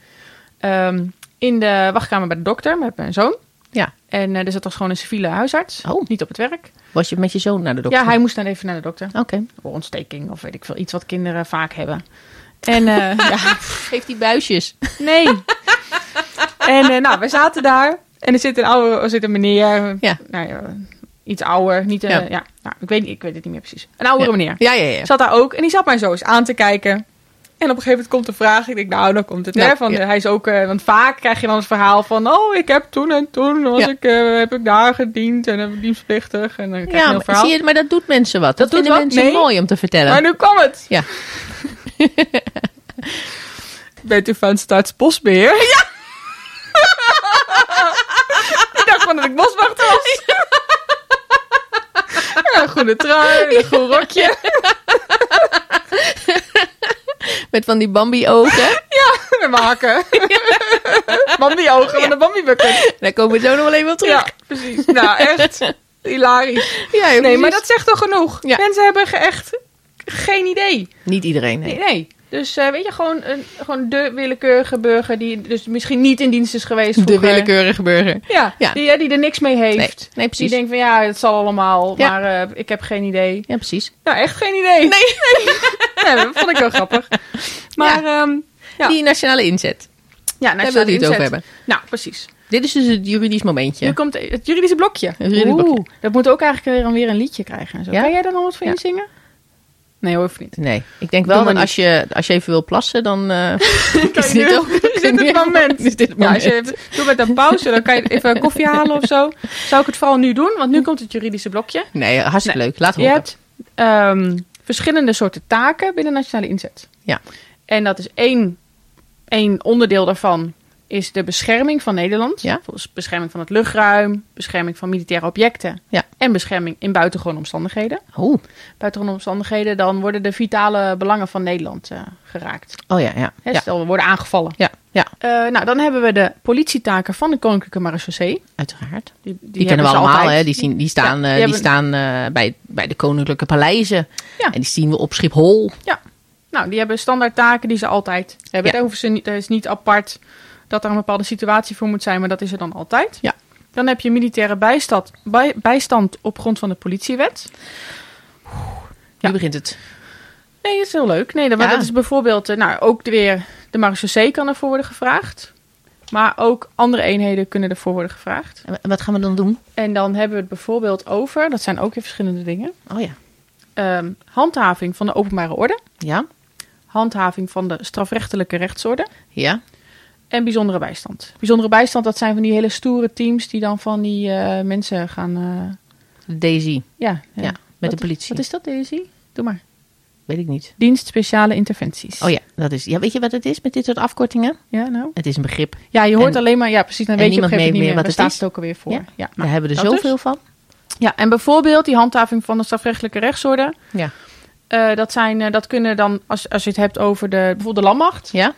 Ehm, in de wachtkamer bij de dokter met mijn zoon. Ja. En eh, dus dat was gewoon een civiele huisarts. Oh. Niet op het werk. Was je met je zoon naar de dokter? Ja, hij moest dan even naar de dokter. Oké. Oorontsteking of weet ik veel. Iets wat kinderen vaak hebben. En eh, ja, Geeft die buisjes. Nee. en eh, nou, we zaten daar. En er zit een oude, er zit een meneer. Ja. Nou ja, iets ouder. Niet, eh, Ja. ja. nou, ik, weet, niet- ik weet het niet meer precies. Een oudere meneer. Ja, ja, ja. Zat daar ook. En die zat mij zo eens aan te kijken. En op een gegeven moment komt de vraag. Ik denk, nou, dan komt het. Nou, hè, van, ja. eh, Hij is ook, eh, want vaak krijg je dan het verhaal van... Oh, ik heb toen en toen was Ja. ik, eh, heb ik daar gediend. En heb ik dienstplichtig. En dan krijg je Ja, een heel maar, verhaal. zie je, maar dat doet mensen wat. Dat Dat, doet vinden wat? mensen Nee. mooi om te vertellen. Maar nu kwam het. Ja. Bent u van Staatsbosbeheer? Ja. ik dacht van dat ik boswachter was. Ja, een groene trui, en een groen rokje. Met van die Bambi-ogen. En mijn hakken. Bambi-ogen met een bambi-bukken. Daar komen we zo nog wel even op terug. Ja, precies. Nou, echt hilarisch. Ja, Nee, maar dat zegt toch genoeg. Ja. Mensen hebben ge- echt geen idee. Niet iedereen, nee. Nee, nee. Dus eh, weet je, gewoon, een, gewoon de willekeurige burger die dus misschien niet in dienst is geweest De vroeger. willekeurige burger. Ja, Ja. Die, ja, die er niks mee heeft. Nee, nee, Die precies. denkt van ja, het zal allemaal, Ja. maar eh, ik heb geen idee. Ja, precies. Nou, echt geen idee. Nee. Nee, dat vond ik wel grappig. Maar ehm, ja, Ja. Die nationale inzet. ja Daar nou, wil je het over inzet. hebben. Nou, precies. Dit is dus het juridisch momentje. Nu komt het juridische blokje. juridisch Oeh, blokje. Dat moet ook eigenlijk weer, weer een liedje krijgen. en Zo. Ja? Kan jij daar nog wat voor Ja. inzingen? Nee hoor, hoeft niet. Nee, ik denk Doe wel maar dat niet. als je, als je even wil plassen, dan eh, is nu- dit ook... Is dit het moment? Is dit het Ja, als moment? je even- doe met een pauze, dan kan je even koffie halen of zo. Zou ik het vooral nu doen, want nu komt het juridische blokje. Nee, hartstikke leuk. Laat Je horen. hebt ehm, verschillende soorten taken binnen nationale inzet. Ja. En dat is één, één onderdeel daarvan is de bescherming van Nederland. Ja. Dus bescherming van het luchtruim, bescherming van militaire objecten. Ja. En bescherming in buitengewone omstandigheden. Oh, Buitengewone omstandigheden, dan worden de vitale belangen van Nederland eh, geraakt. oh ja, ja. Hè, Ja, Stel, we worden aangevallen. ja, ja. Eh, nou, dan hebben we de politietaken van de Koninklijke Marechaussee. Die, uiteraard. die, Die, hebben kennen we ze allemaal, altijd. hè? Die, zien, die staan, Ja, eh, die die staan eh, bij, bij de koninklijke paleizen. En die zien we op Schiphol. Ja, nou, die hebben standaard taken die ze altijd hebben. Ja. Daar hoeven ze niet, er is niet apart dat er een bepaalde situatie voor moet zijn, maar dat is er dan altijd. Ja. Dan heb je militaire bijstand, bij- bijstand op grond van de politiewet. Ja. Nu begint het. Nee, dat is heel leuk. Nee, dat, maar Ja. dat is bijvoorbeeld, eh, nou, ook weer de marechaussee kan ervoor worden gevraagd. Maar ook andere eenheden kunnen ervoor worden gevraagd. En wa- wat gaan we dan doen? En dan hebben we het bijvoorbeeld over, dat zijn ook weer verschillende dingen, Oh ja. ehm, handhaving van de openbare orde, Ja? handhaving van de strafrechtelijke rechtsorde, Ja? En bijzondere bijstand. Bijzondere bijstand, dat zijn van die hele stoere teams die dan van die eh, mensen gaan. eh, Daisy. ja, ja. Ja. Met Wat- de politie. Wat is dat, Daisy? Doe maar. Weet ik niet. Dienst speciale interventies. Oh ja, dat is. Ja, weet je wat het is met dit soort afkortingen? Ja, nou. Het is een begrip. Ja, je hoort En- alleen maar. Ja, precies. Dan en weet je op een niemand gegeven moment niet meer wat weet meer wat het staat het is. het ook alweer voor. Ja. Ja, Daar nou, hebben we er dat zoveel dus. van. Ja, en bijvoorbeeld die handhaving van de strafrechtelijke rechtsorde. Ja. eh, dat, zijn, eh, dat kunnen dan, als, als je het hebt over de, bijvoorbeeld de landmacht, Ja?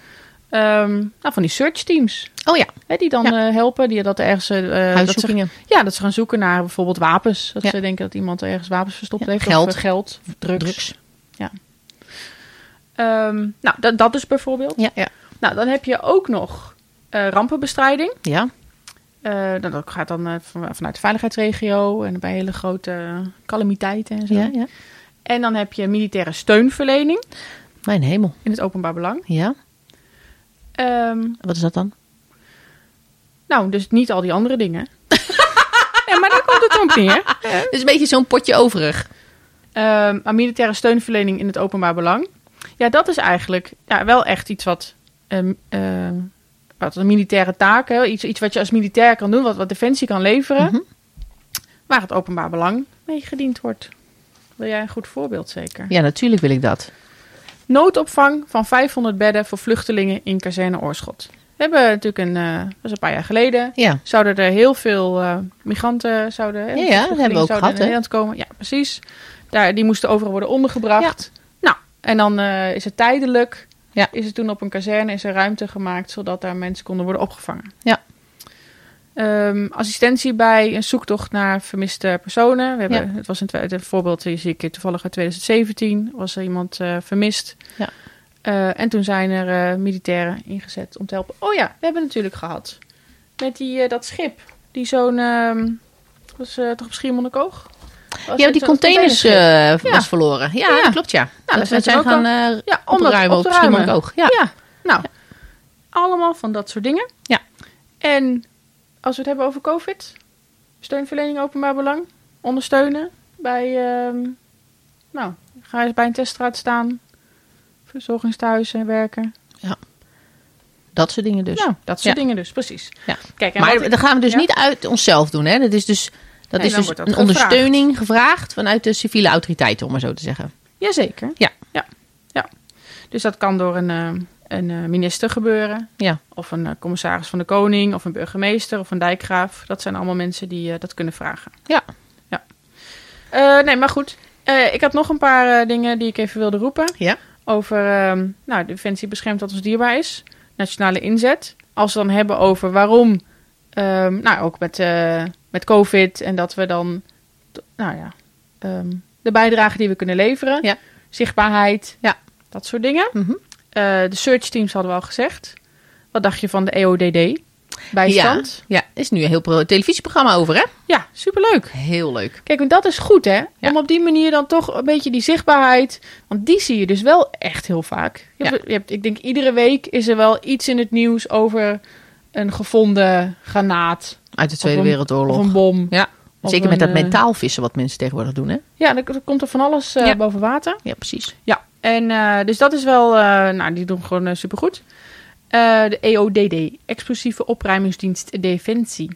ehm, nou, van die searchteams. Oh ja, Hè, die dan eh, helpen, die dat er ergens. eh, dat ze huiszoekingen. Ja, dat ze gaan zoeken naar bijvoorbeeld wapens. Dat Ja. ze denken dat iemand ergens wapens verstopt Ja, heeft. geld. Of eh, geld, drugs. Drugs. Ehm, nou, dat, dat dus bijvoorbeeld. Ja, ja. Nou, dan heb je ook nog eh, rampenbestrijding. Ja. Eh, nou, dat gaat dan eh, van- vanuit de veiligheidsregio en bij hele grote calamiteiten en zo. ja, ja. En dan heb je militaire steunverlening Mijn hemel. in het openbaar belang. Ja. Ehm, Wat is dat dan? nou, dus niet al die andere dingen. ja, maar daar komt het dan op neer. Het is een beetje zo'n potje overig. Ehm, maar militaire steunverlening in het openbaar belang. Ja, dat is eigenlijk ja, wel echt iets wat, ehm, eh, wat een militaire taak, hè, iets, iets wat je als militair kan doen, wat, wat defensie kan leveren, Mhm. waar het openbaar belang mee gediend wordt. Wil jij een goed voorbeeld zeker? Ja, natuurlijk wil ik dat. Noodopvang van 500 bedden voor vluchtelingen in kazerne Oorschot. We hebben natuurlijk een, eh dat is een paar jaar geleden, Ja. zouden er heel veel eh, migranten zouden, hè, Ja, ja, dat hebben we vluchtelingen ook zouden gehad, naar hè? Nederland komen. Ja, precies. Daar, die moesten overal worden ondergebracht. Nou, en dan eh, is het tijdelijk, Ja. is het toen op een kazerne, is er ruimte gemaakt zodat daar mensen konden worden opgevangen. Ja. Ehm, assistentie bij een zoektocht naar vermiste personen. We hebben, Ja. Het was een, twe- het voorbeeld, hier zie ik hier toevallig uit 2017, was er iemand eh, vermist. Ja. Eh, en toen zijn er eh, militairen ingezet om te helpen. Oh ja, we hebben natuurlijk gehad. Met die, eh, dat schip. Die zo'n... ehm, was eh, toch op Schiermonnikoog? Was Ja, het die zo'n containers containerschip? eh, Ja. was verloren. Ja, Ja. Nou, dat klopt ja. daar dat we zijn zijn ze ook gaan eh ja, om dat opruimen op op te het ruimen. ook. Ja. Ja, nou. Allemaal van dat soort dingen. Ja. En als we het hebben over COVID. Steunverlening openbaar belang. Ondersteunen bij... ehm, nou, ga eens bij een teststraat staan. Verzorgingstehuizen werken. Dat soort dingen dus. nou, dat soort Ja. dingen dus, precies. Ja. Kijk, en wat- maar dat gaan we dus ja. niet uit onszelf doen. Hè? Dat is dus, dat Nee, is dan dus wordt dat een gevraagd. ondersteuning gevraagd vanuit de civiele autoriteiten, om maar zo te zeggen. Jazeker. Ja. ja. ja. Dus dat kan door een, eh, een eh, minister gebeuren. Ja. Of een eh, commissaris van de Koning. Of een burgemeester. Of een dijkgraaf. Dat zijn allemaal mensen die eh, dat kunnen vragen. Ja. ja. Eh, nee, maar goed. Eh, ik had nog een paar eh, dingen die ik even wilde roepen. Ja. Over, ehm, nou, Defensie beschermt wat ons dierbaar is. Nationale inzet. Als we dan hebben over waarom, ehm, nou, ook met, eh, met COVID en dat we dan, t- nou ja, ehm, de bijdrage die we kunnen leveren. Ja. Zichtbaarheid. Ja. Dat soort dingen. Mhm. Eh, de search teams hadden we al gezegd. Wat dacht je van de E EODD? Bijstand. Ja, is nu een heel pro- televisieprogramma over, hè? Ja, superleuk. Heel leuk. Kijk, want dat is goed, hè? Ja. Om op die manier dan toch een beetje die zichtbaarheid. Want die zie je dus wel echt heel vaak. Je Ja. hebt, je hebt, ik denk, iedere week is er wel iets in het nieuws over een gevonden granaat Uit de Of Tweede een- Wereldoorlog. of een bom. Ja. Of Zeker met een, dat eh, mentaal vissen wat mensen tegenwoordig doen, hè? Ja, dan, dan komt er van alles eh, Ja. boven water. Ja, precies. Ja, en eh, dus dat is wel, eh, nou, die doen gewoon eh, supergoed. Eh, de EODD, Explosieve Opruimingsdienst Defensie.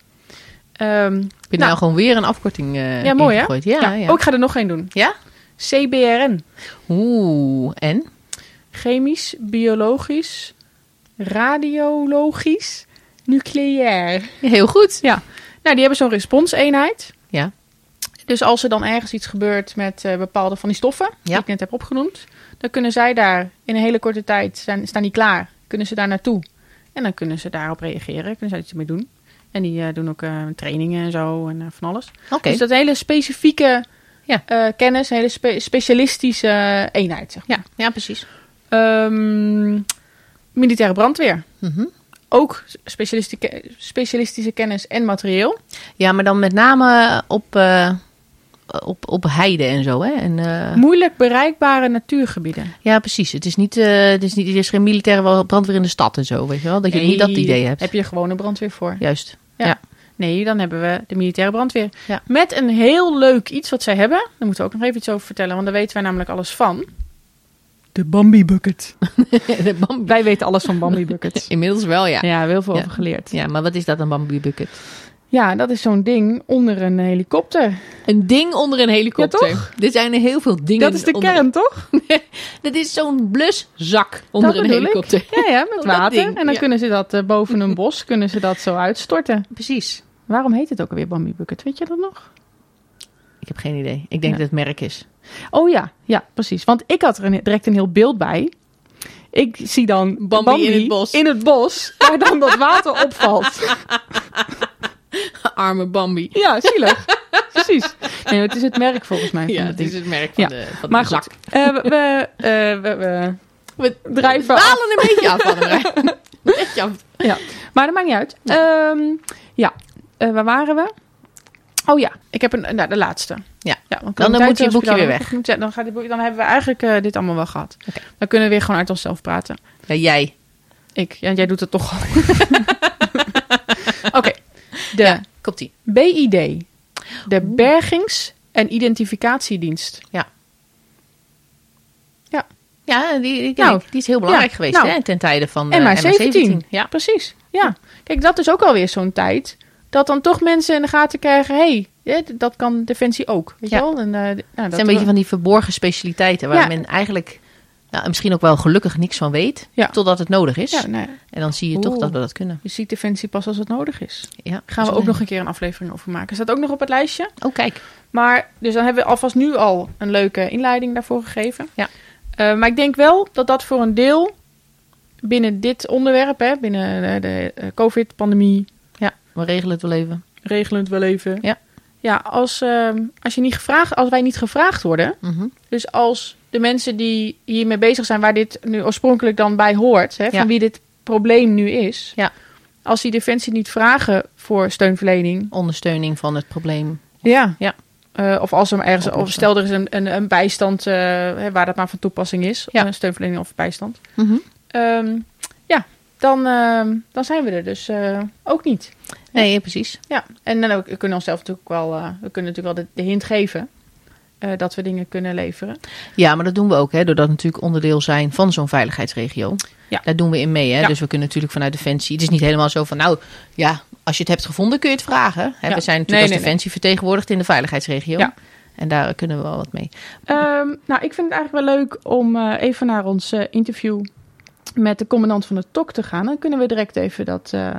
Ehm, Heb je nou, Nou. gewoon weer een afkorting eh Ja, mooi, hè? ingegooid? Ja, ja. ja, Oh, ik ga er nog één doen. Ja? CBRN. Oeh, en? Chemisch, biologisch, radiologisch, nucleair. Heel goed. Ja, nou die hebben zo'n responseenheid. Ja. Dus als er dan ergens iets gebeurt met eh, bepaalde van die stoffen, die Ja. ik net heb opgenoemd, dan kunnen zij daar in een hele korte tijd, zijn, staan die klaar, kunnen ze daar naartoe. En dan kunnen ze daarop reageren, kunnen zij iets mee doen. En die eh, doen ook eh, trainingen en zo en eh, van alles. Oké. Dus dat is een hele specifieke Ja. eh, kennis, een hele spe- specialistische eh, eenheid, zeg maar. Ja, ja, precies. Ehm, militaire brandweer. Mhm. Ook specialistische, specialistische kennis en materieel. Ja, maar dan met name op, eh, op, op heide en zo, hè? En, eh, Moeilijk bereikbare natuurgebieden. ja, precies. Het is, niet, eh, het, is niet, er is geen militaire wel- brandweer in de stad en zo, weet je wel? Dat je niet dat Nee, idee hebt. Heb je gewoon een brandweer voor? Juist. Nee, dan hebben we de militaire brandweer. Ja. Met een heel leuk iets wat zij hebben. Daar moeten we ook nog even iets over vertellen, want daar weten wij namelijk alles van. De Bambi Bucket. De bambi- Wij weten alles van Bambi Buckets. Inmiddels wel, ja. ja, we hebben heel veel Ja. over geleerd. Ja, maar wat is dat, een bamboe bucket? Ja, dat is zo'n ding onder een helikopter. Een ding onder een helikopter. Ja, toch? Er zijn er heel veel dingen. Dat is de onder- kern, toch? Dat is zo'n bluszak onder Dat een bedoel ik. helikopter. Ja, ja, met Dat water. ding, en dan ja. kunnen ze dat eh, boven een bos kunnen ze dat zo uitstorten. Precies. Waarom heet het ook alweer Bambi Bucket? Weet je dat nog? Ik heb geen idee. Ik denk dat het merk is. Oh ja, ja, precies. Want ik had er een- direct een heel beeld bij. Ik zie dan Bambi, in het bos. in het bos, waar dan dat water opvalt. Arme Bambi. Ja, zielig. Precies. Nee, het is het merk volgens mij van Ja, dat het ding. is het merk Ja. van de, van de Maar zak. goed, eh, we, we, eh, we- we- We drijven af. dwalen een beetje af, Annemar. Een beetje af. Maar dat maakt niet uit. Ehm, ja, Eh, waar waren we? Oh ja, ik heb een, nou, de laatste. Ja. ja want Dan, eh, kwaliteit moet je boekje hospitaal- weer weg. Ja, Dan, gaat dit boekje- dan hebben we eigenlijk eh, dit allemaal wel gehad. Oké. Dan kunnen we weer gewoon uit onszelf praten. Ja, jij. Ik, ja, jij doet het toch al. Oké, de Ja, komt-ie. BID, de Bergings- en Identificatiedienst. Ja, die, die, Nou, die is heel belangrijk ja, geweest nou. hè, ten tijde van En eh, maar 17. Ja. Ah, Precies, ja. Kijk, dat is ook alweer zo'n tijd. Dat dan toch mensen in de gaten krijgen... hé, hey, dit- dat kan Defensie ook. Weet Ja. je wel? En, eh, nou, Het zijn een beetje van die verborgen specialiteiten waar Ja. men eigenlijk nou, misschien ook wel gelukkig niks van weet, Ja. totdat het nodig is. Ja, nou, ja. En dan zie je toch Oeh. dat we dat kunnen. je ziet Defensie pas als het nodig is. Ja, Gaan we Zo. ook nog een keer een aflevering over maken. Staat ook nog op het lijstje. Oh, kijk. Maar, dus dan hebben we alvast nu al een leuke inleiding daarvoor gegeven. Ja. Eh, maar ik denk wel dat dat voor een deel binnen dit onderwerp, hè, binnen eh, de, eh, COVID-pandemie, Ja, we regelen het wel even. regelen het wel even. Ja. Ja, als, ehm, als, je niet gevraagd, als wij niet gevraagd worden, Mhm. dus als de mensen die hiermee bezig zijn, waar dit nu oorspronkelijk dan bij hoort, hè, van Ja. wie dit probleem nu is, Ja. als die Defensie niet vragen voor steunverlening, Ondersteuning van het probleem. Ja. Ja. Eh, of als er ergens, of Oplossen. stel er is een, een, een bijstand eh, hè, waar dat maar van toepassing is, Ja. een steunverlening of bijstand. Mhm. Ehm, ja, dan, ehm, dan zijn we er dus eh, ook niet. Nee, ja, precies. Ja, en dan ook, we kunnen onszelf natuurlijk ook wel, eh, we kunnen natuurlijk wel de, de hint geven eh, dat we dingen kunnen leveren. Ja, maar dat doen we ook, hè, doordat we natuurlijk onderdeel zijn van zo'n veiligheidsregio. Ja. Daar doen we in mee, hè. Ja. Dus we kunnen natuurlijk vanuit Defensie... Het is niet helemaal zo van, nou, ja, als je het hebt gevonden kun je het vragen. Hè, Ja. We zijn natuurlijk Nee, als nee, Defensie vertegenwoordigd in de veiligheidsregio. Ja. En daar kunnen we wel wat mee. Ehm, nou, ik vind het eigenlijk wel leuk om eh, even naar ons eh, interview met de commandant van de TOK te gaan. Dan kunnen we direct even dat, eh,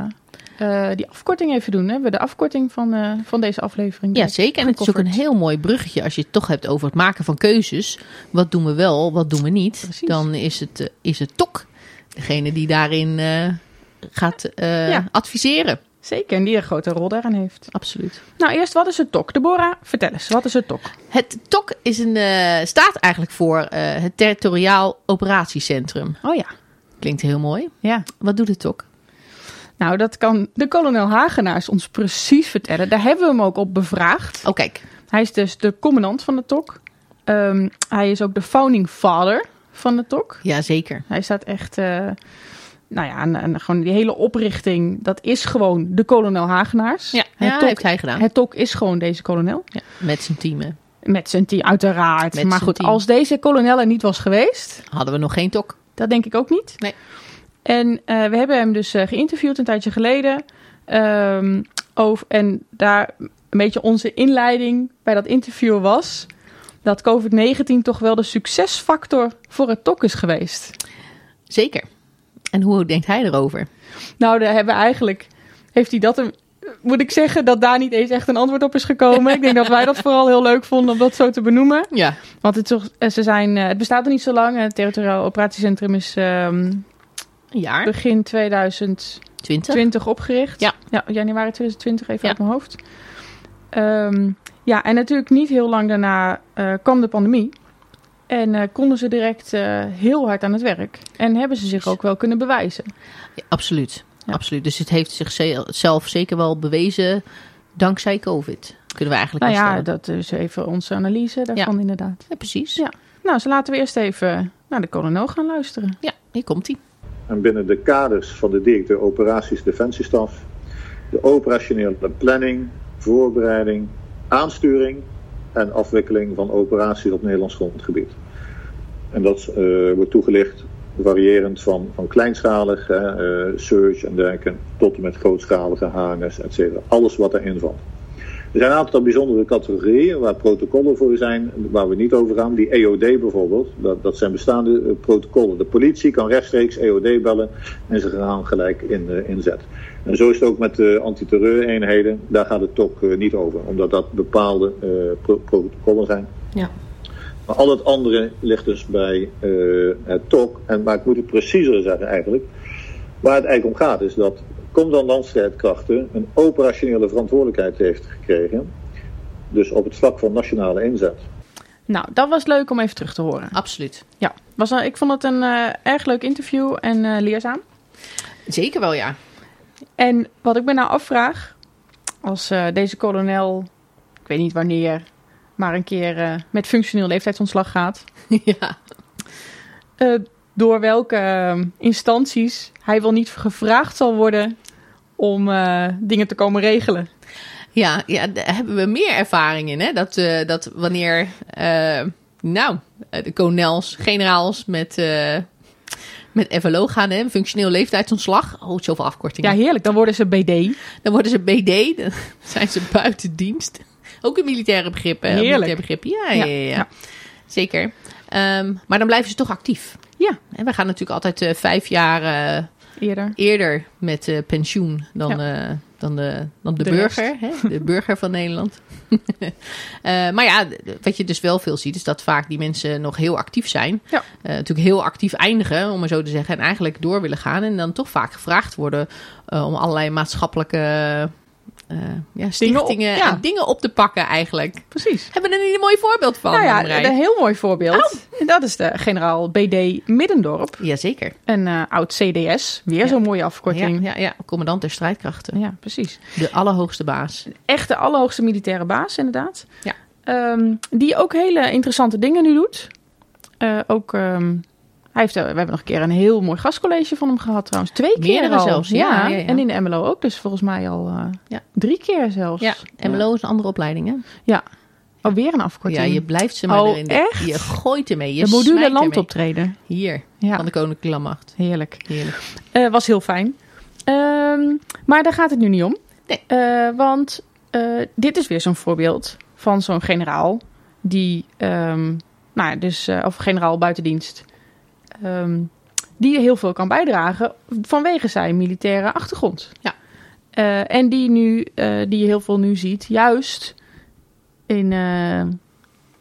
eh, die afkorting even doen. Hè? We de afkorting van, eh, van deze aflevering. Ja, zeker. En het is ook een gecoverd. heel mooi bruggetje als je het toch hebt over het maken van keuzes. Wat doen we wel, wat doen we niet? Precies. Dan is het, eh, is het TOC degene die daarin eh, gaat eh, Ja. adviseren. Zeker, en die een grote rol daarin heeft. Absoluut. Nou, eerst, wat is het TOK? Deborah, vertel eens, wat is het TOK? Het TOC is een, eh, staat eigenlijk voor eh, het Territoriaal Operatiecentrum. Oh ja. Klinkt heel mooi. ja. Wat doet het TOC? Nou, dat kan de kolonel Hagenaars ons precies vertellen. Daar hebben we hem ook op bevraagd. Oh, kijk. Hij is dus de commandant van de TOK. Ehm, hij is ook de founding father van de TOK. Ja, zeker. Hij staat echt, eh, nou ja, en, en gewoon die hele oprichting, dat is gewoon de kolonel Hagenaars. ja, het, heeft TOK, hij gedaan. het TOK is gewoon deze kolonel. Ja, met zijn team. hè. Met zijn team, uiteraard. Met maar zijn goed, team. als deze kolonel er niet was geweest, Hadden we nog geen TOC. Dat denk ik ook niet. Nee. En eh, we hebben hem dus eh, geïnterviewd een tijdje geleden. Ehm, over, en daar een beetje onze inleiding bij dat interview was... dat COVID-19 toch wel de succesfactor voor het TOC is geweest. Zeker. En hoe denkt hij erover? Nou, daar hebben we eigenlijk... Heeft hij dat... Een, moet ik zeggen dat daar niet eens echt een antwoord op is gekomen. ik denk dat wij dat vooral heel leuk vonden om dat zo te benoemen. Ja. Want het, is toch- eh, ze zijn, eh, het bestaat nog niet zo lang. Het territoriaal operatiecentrum is ehm, Een jaar? begin 2000... Twintig? 20 opgericht. Ja. januari 2020, even Ja. uit mijn hoofd. Ehm, ja, en natuurlijk niet heel lang daarna eh, kwam de pandemie. En eh, konden ze direct eh, heel hard aan het werk. En hebben ze zich ook wel kunnen bewijzen. Ja, absoluut. Ja. absoluut. Dus het heeft zichzelf zeker wel bewezen dankzij COVID. Kunnen we eigenlijk Nou wel ja, stellen. dat is even onze analyse daarvan inderdaad. Ja, precies. Ja. Ja. Nou, dus laten we eerst even naar de kolonel gaan luisteren. hier komt hij. en binnen de kaders van de directeur operaties Defensiestaf de operationele planning, voorbereiding, aansturing en afwikkeling van operaties op Nederlands grondgebied. En dat eh, wordt toegelicht variërend van, van kleinschalig, hè, eh, surge en dergelijke, tot en met grootschalige hangers, et cetera. Alles wat daarin valt. Er zijn een aantal bijzondere categorieën waar protocollen voor zijn, waar we niet over gaan. Die EOD bijvoorbeeld, dat, dat zijn bestaande eh, protocollen. De politie kan rechtstreeks EOD bellen en ze gaan gelijk in, eh, inzet. En zo is het ook met de antiterreureenheden. Daar gaat het toch eh, niet over, omdat dat bepaalde eh, pro- protocollen zijn. Ja. Maar al het andere ligt dus bij eh, het TOC. En, maar ik moet het preciezer zeggen eigenlijk. Waar het eigenlijk om gaat is dat Commandant Landstrijdkrachten een operationele verantwoordelijkheid heeft gekregen. Dus op het vlak van nationale inzet. Nou, dat was leuk om even terug te horen. Absoluut. Ja, was, een- ik vond het een eh, erg leuk interview en eh, leerzaam. Zeker wel, ja. En wat ik me nou afvraag, als eh, deze kolonel, ik weet niet wanneer, maar een keer eh, met functioneel leeftijdsontslag gaat, ja. eh, door welke eh, instanties hij wel niet gevraagd zal worden om eh, dingen te komen regelen. Ja, ja, daar hebben we meer ervaring in. Hè? Dat, eh, dat wanneer, eh, nou, eh, de kolonels, generaals met, eh met FLO gaan, hè? functioneel leeftijdsontslag. Oh, zoveel Ja, afkortingen. heerlijk, dan worden ze BD. Dan worden ze BD, dan zijn ze buiten dienst. Ook een militaire begrip. hè? Een Heerlijk. Militaire begrip. Ja, ja, ja, ja. zeker. Ehm, maar dan blijven ze toch actief. Ja. En we gaan natuurlijk altijd eh, vijf jaar eh, Eerder. eerder met eh, pensioen dan, eh, dan de, dan de, De burger. Hè? De burger van Nederland. Eh, maar ja, d- d- wat je dus wel veel ziet, is dat vaak die mensen nog heel actief zijn. Ja. Eh, natuurlijk heel actief eindigen, om maar zo te zeggen. En eigenlijk door willen gaan. En dan toch vaak gevraagd worden eh, om allerlei maatschappelijke eh, ja, stichtingen ja. en dingen op te pakken eigenlijk. Precies. Hebben we er niet een mooi voorbeeld van? nou ja, Marij? een heel mooi voorbeeld. En dat is de generaal BD Middendorp. Jazeker. Een eh, oud CDS. Weer Ja. zo'n mooie Ja, afkorting. ja, ja, commandant der strijdkrachten. ja precies. De allerhoogste baas. echt de allerhoogste militaire baas, inderdaad. Ja. Ehm, die ook hele interessante dingen nu doet. Eh, ook, ehm, hij heeft, eh, we hebben nog een keer een heel mooi gastcollege van hem gehad trouwens. Twee keer Meerdere al. zelfs, ja, ja, ja. En in de MLO ook dus volgens mij al eh, Ja. drie keer zelfs. Ja, MLO is een andere opleiding, hè? Ja. Alweer een afkorting. Ja, je blijft ze maar Oh, erin. echt? Je gooit ermee. Je de module smijt land ermee. optreden. Hier, Ja, van de Koninklijke Landmacht. heerlijk. Heerlijk. Eh, was heel fijn. Ehm, maar daar gaat het nu niet om. Nee. Eh, want eh, dit is weer zo'n voorbeeld van zo'n generaal die, ehm, nou ja, dus, eh, of generaal buitendienst, ehm, die heel veel kan bijdragen vanwege zijn militaire achtergrond. Ja. Eh, en die, nu, eh, die je heel veel nu ziet, juist in eh,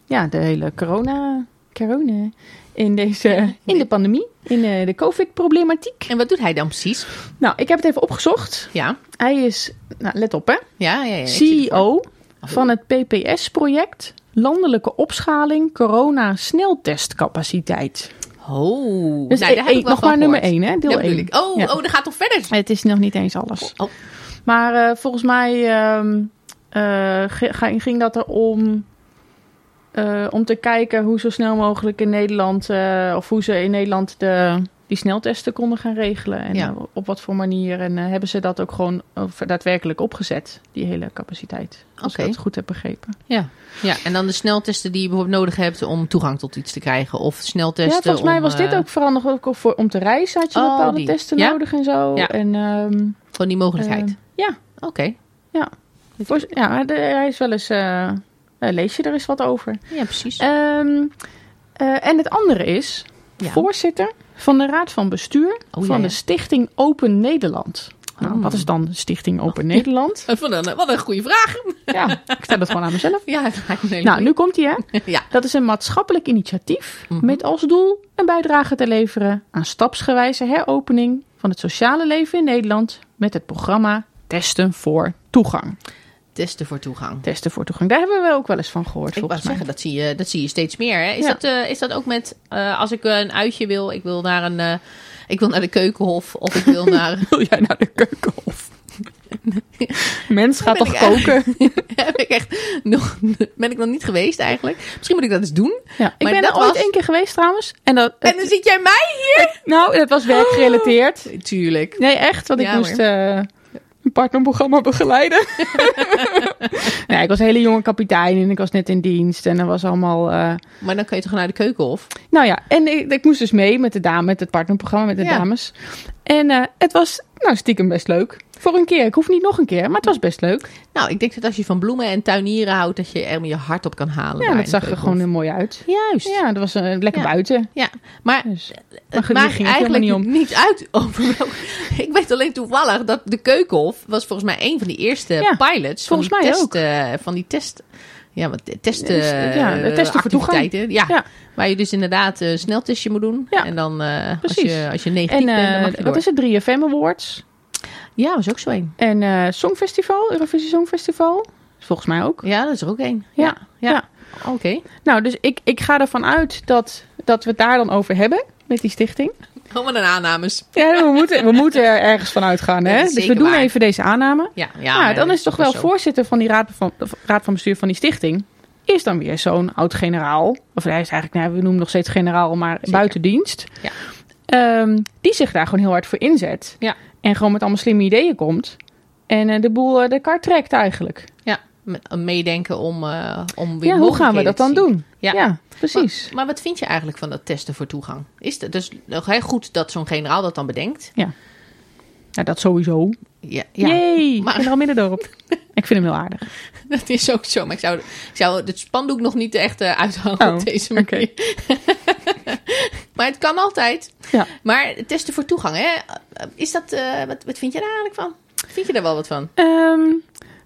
ja, de hele corona, corona in, deze, in de pandemie, in eh, de COVID-problematiek. En wat doet hij dan precies? Nou, ik heb het even opgezocht. Ja, Hij is, nou, let op hè, ja, ja. ja ik zie het voor. CEO E van het PPS-project Landelijke Opschaling Corona Sneltestcapaciteit. Oh, Dus nou, één- daar heb ik wel nog van maar nummer 1 gehoord. hè, deel Dat bedoel 1. ik. Oh, Ja. oh, dat gaat toch verder? Het is nog niet eens alles. Oh. Maar eh, volgens mij ehm, eh, ge- ga- ging dat erom eh, om te kijken hoe zo snel mogelijk in Nederland, eh, of hoe ze in Nederland de, die sneltesten konden gaan regelen. En Ja. eh, op wat voor manier. En eh, hebben ze dat ook gewoon of daadwerkelijk opgezet, die hele capaciteit. Als Oké. ik dat goed heb begrepen. Ja. ja, en dan de sneltesten die je bijvoorbeeld nodig hebt om toegang tot iets te krijgen. Of sneltesten Ja, volgens mij om, was dit eh, ook vooral nog ook voor, om te reizen had je Oh, bepaalde die. testen Ja. nodig en zo. Ja. En, ehm, Gewoon die mogelijkheid. ehm, ja, Oké. Voor- ja, maar er- er is wel eens. eh, eh, lees je er eens wat over? Ja, precies. Ehm, eh, en het andere is Ja. voorzitter van de Raad van Bestuur Oh, van ja, ja. de Stichting Open Nederland. Nou, Oh. Wat is dan Stichting Open Nederland? Wat een, wat een goede vraag. ja, ik stel dat gewoon aan mezelf. Ja, dat lijkt me een hele Nou, nu komt ie hè. goeie. Ja. Dat is een maatschappelijk initiatief Mhm. met als doel een bijdrage te leveren aan stapsgewijze heropening van het sociale leven in Nederland met het programma Testen voor Toegang. Testen voor toegang. Testen voor Toegang, daar hebben we ook wel eens van gehoord Ik wou volgens mij. zeggen, dat zie, je, dat zie je steeds meer. Hè? Is, Ja. dat, eh, is dat ook met, eh, als ik eh, een uitje wil, ik wil naar, een, eh, ik wil naar de keukenhof of ik wil naar... Wil jij naar de keukenhof? Mens gaat Ben toch ik koken? heb ik echt nog, ben ik nog niet geweest eigenlijk. Misschien moet ik dat eens doen. Ja, ik Maar ben dat er ooit was- één keer geweest trouwens. En dat, En dan zit jij mij hier? nou, dat was werkgerelateerd. Tuurlijk. Nee, echt, want ik Oh. Ja, moest hoor. eh, een partnerprogramma begeleiden. nee, ik was een hele jonge kapitein en ik was net in dienst. En dat was allemaal... eh, Maar dan kun je toch naar de keukenhof? Nou ja, en ik, ik moest dus mee met de dame, met het partnerprogramma, met de Ja. dames. En eh, het was nou stiekem best leuk. Voor een keer. Ik hoef niet nog een keer, maar het was best leuk. Nou, ik denk dat als je van bloemen en tuinieren houdt, dat je er je hart op kan halen. daar Ja, in dat de zag er keukenhof. gewoon heel mooi uit. Juist. Ja. Ja, dat was eh, lekker Ja. buiten. Maar Dus. Maar goed, Het hier maakt ging het eigenlijk helemaal niet, niet om. uit over welke... Ik weet alleen toevallig dat de Keukenhof was volgens mij een van die eerste Ja, pilots. volgens van die mij test, ook. eh, van die test... Ja, wat testen, Dus, ja, eh, testen voor toegang. activiteiten. Ja, Ja. waar je dus inderdaad een sneltestje moet doen. Ja, En dan eh, als, precies. je, als je negatief En bent, dan eh, mag je door. wat is het? 3FM Awards. Ja, was ook zo een. En eh, Songfestival, Eurovisie Songfestival. Volgens mij ook. Ja, dat is er ook een. Ja, ja. ja. Oké. Nou, dus ik, ik ga ervan uit dat, dat we het daar dan over hebben met die stichting. Allemaal Oh, een aannames. Ja, we moeten, we moeten er ergens van uitgaan. Hè? Ja, dat dus is we zeker doen waar. even deze aanname. Ja, ja. eh, Ja, dan is toch wel zo. voorzitter van die raad van, raad van bestuur van die stichting. Is dan weer zo'n oud-generaal. Of hij is eigenlijk, nou, we noemen hem nog steeds generaal, maar buiten dienst. Ja. Ehm, die zich daar gewoon heel hard voor inzet. Ja. En gewoon met allemaal slimme ideeën komt. En eh, de boel eh, de kar trekt eigenlijk. Ja, met- meedenken om, eh om weer Ja, hoe gaan we mogelijkheden dat te dan zien. doen? Ja. precies. Maar, maar wat vind je eigenlijk van dat testen voor toegang? Is het dus nog heel goed dat zo'n generaal dat dan bedenkt? Nou, dat sowieso. Ja, Ja. ja. Yay, Maar- maar... generaal Middendorp. ik vind hem heel aardig. dat is ook zo. Maar ik zou, ik zou het spandoek nog niet echt eh, uithalen Oh, op deze manier. maar het kan altijd. Ja. Maar testen voor toegang, hè? Is dat, eh, wat, wat vind je daar eigenlijk van? Vind je daar wel wat van? Ehm,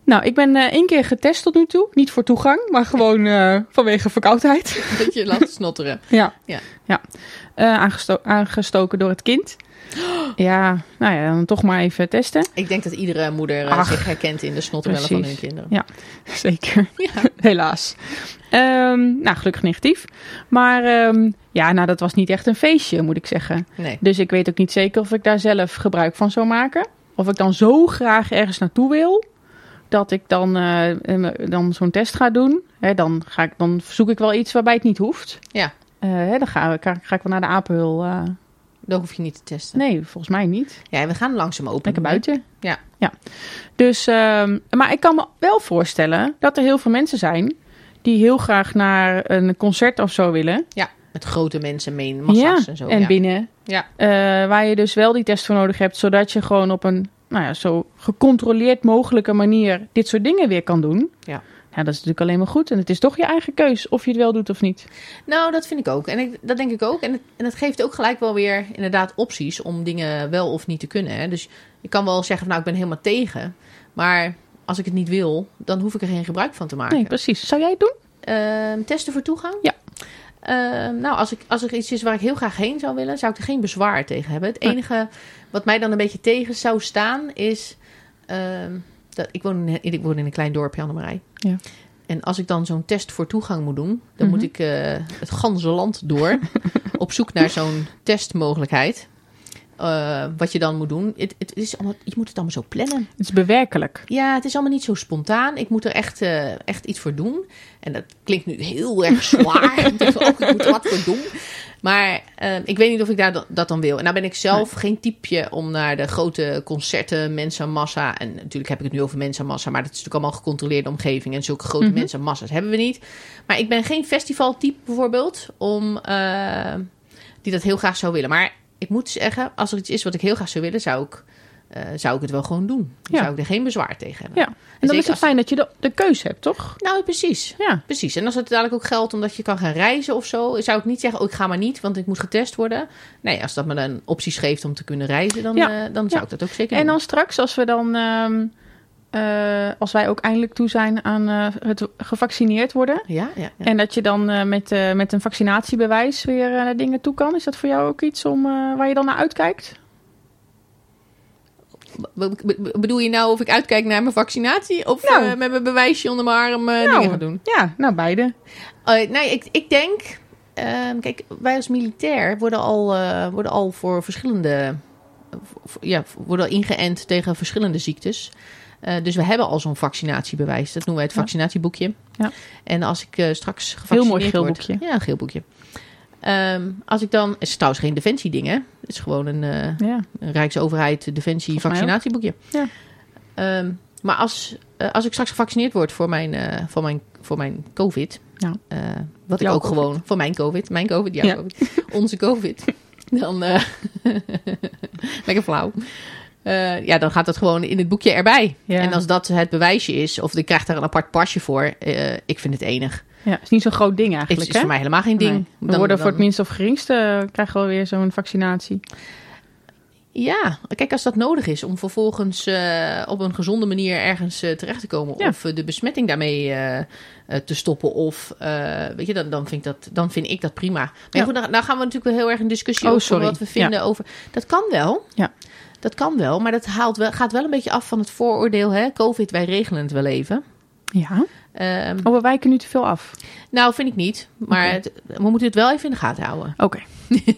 nou, ik ben eh, één keer getest tot nu toe. Niet voor toegang, maar gewoon eh, vanwege verkoudheid. Dat je laat snotteren. ja. Ja. ja. Eh, aangesto- aangestoken door het kind. Ja, nou ja, dan toch maar even testen. Ik denk dat iedere moeder eh, Ach, zich herkent in de snotterbellen van hun precies. kinderen. Ja, zeker. Ja. Helaas. Ehm, nou, gelukkig negatief. Maar ehm, ja, nou, dat was niet echt een feestje, moet ik zeggen. Nee. Dus ik weet ook niet zeker of ik daar zelf gebruik van zou maken. Of ik dan zo graag ergens naartoe wil. Dat ik dan, eh, eh, dan zo'n test ga doen. Hè, dan, ga ik, dan zoek ik wel iets waarbij het niet hoeft. Ja. Eh, hè, dan ga, ik- ga, ga ik wel naar de apenhul. eh. Dat hoef je niet te testen. nee, volgens mij niet. Ja, we gaan langzaam open. Lekker buiten. Ja. ja. Dus, ehm, maar ik kan me wel voorstellen dat er heel veel mensen zijn... die heel graag naar een concert of zo willen. Ja, met grote mensen mee, massa's ja, en zo. en ja. binnen. Ja. Eh, waar je dus wel die test voor nodig hebt, zodat je gewoon op een nou ja, zo gecontroleerd mogelijke manier dit soort dingen weer kan doen. Ja. Ja, dat is natuurlijk alleen maar goed. En het is toch je eigen keus of je het wel doet of niet. Nou, dat vind ik ook. En ik, dat denk ik ook. En het, en het geeft ook gelijk wel weer inderdaad opties om dingen wel of niet te kunnen. Hè. Dus ik kan wel zeggen, van, nou, ik ben helemaal tegen. Maar als ik het niet wil, dan hoef ik er geen gebruik van te maken. Nee, precies. Zou jij het doen? Ehm, testen voor toegang? Ja. Ehm, nou, als, ik, als er iets is waar ik heel graag heen zou willen, zou ik er geen bezwaar tegen hebben. Het Nee. enige wat mij dan een beetje tegen zou staan is. ehm, dat, ik, woon in, ik woon in een klein dorpje aan de Marij. Ja. En als ik dan zo'n test voor toegang moet doen, dan Mhm. moet ik eh, het ganse land door op zoek naar zo'n testmogelijkheid. Eh, wat je dan moet doen. Het, het is allemaal, je moet het allemaal zo plannen. Het is bewerkelijk. Ja, het is allemaal niet zo spontaan. Ik moet er echt, eh, echt iets voor doen. En dat klinkt nu heel erg zwaar. ik denk van, oh, ik moet er wat voor doen. Maar eh, ik weet niet of ik daar da- dat dan wil. En nou ben ik zelf geen typeje om naar de grote concerten, mensenmassa. En natuurlijk heb ik het nu over mensenmassa. Maar dat is natuurlijk allemaal gecontroleerde omgeving. En zulke grote Mhm. mensenmassa's hebben we niet. Maar ik ben geen festivaltype bijvoorbeeld. Om, eh, die dat heel graag zou willen. Maar ik moet zeggen, als er iets is wat ik heel graag zou willen, zou ik, eh, zou ik het wel gewoon doen. Dan Ja. zou ik er geen bezwaar tegen hebben. Ja. En dan zeker is het als- fijn dat je de, de keus hebt, toch? Nou, precies. Ja. Precies. En als het dadelijk ook geldt omdat je kan gaan reizen of zo, zou ik niet zeggen, oh, ik ga maar niet, want ik moet getest worden. Nee, als dat me dan opties geeft om te kunnen reizen, dan, Ja. eh, dan zou Ja. ik dat ook zeker En doen. dan straks, als we dan, ehm, eh, als wij ook eindelijk toe zijn aan eh, het gevaccineerd worden. Ja, ja, ja. En dat je dan eh, met, eh, met een vaccinatiebewijs weer eh, naar dingen toe kan. Is dat voor jou ook iets om, eh, waar je dan naar uitkijkt? Eh, Be- be- be- bedoel je nou of ik uitkijk naar mijn vaccinatie of Nou. eh, met mijn bewijsje onder mijn arm eh, dingen gaan doen? Ja, nou beide. Eh, nee, ik, ik denk. ehm, kijk, wij als militair worden al, eh, worden al voor verschillende. voor- ja, worden al ingeënt tegen verschillende ziektes. Eh, dus we hebben al zo'n vaccinatiebewijs. Dat noemen wij het Ja. vaccinatieboekje. Ja. En als ik eh, straks gevaccineerd geel word- boekje. Ja, een geel boekje. Ehm, als ik dan... Het is trouwens geen defensieding, hè? Het is gewoon een, eh, Ja. een Rijksoverheid defensie Volgens mij ook. vaccinatieboekje. Ja. Ehm, maar als, eh, als ik straks gevaccineerd word voor mijn, eh, voor mijn, voor mijn COVID. Ja. eh, wat ik Jouw ook COVID. gewoon. Voor mijn COVID. Mijn COVID, jouw Ja. COVID. Onze COVID. Dan. eh, lekker flauw. Eh, ja, dan gaat dat gewoon in het boekje erbij. Ja. En als dat het bewijsje is, of ik krijg daar een apart pasje voor, eh, ik vind het enig. ja, het is niet zo'n groot ding Het eigenlijk. is voor mij helemaal geen ding. We Dan- worden voor het dan- minst of geringste eh, krijgen we weer zo'n vaccinatie. Ja, kijk, als dat nodig is om vervolgens eh, op een gezonde manier ergens eh, terecht te komen. Ja. Of eh, de besmetting daarmee eh, eh, te stoppen. Of eh, weet je, dan, dan, vind ik dat, dan vind ik dat prima. Maar ja, Ja. goed, nou, nou gaan we natuurlijk wel heel erg een discussie Oh, over sorry. wat we vinden over. Dat kan wel. Ja. Dat kan wel, maar dat haalt wel, gaat wel een beetje af van het vooroordeel. Hè? Covid, wij regelen het wel even. Ja. Eh, Ehm, Oh, we wijken nu te veel af. nou, vind ik niet. Maar Oké. het- we moeten het wel even in de gaten houden. Oké,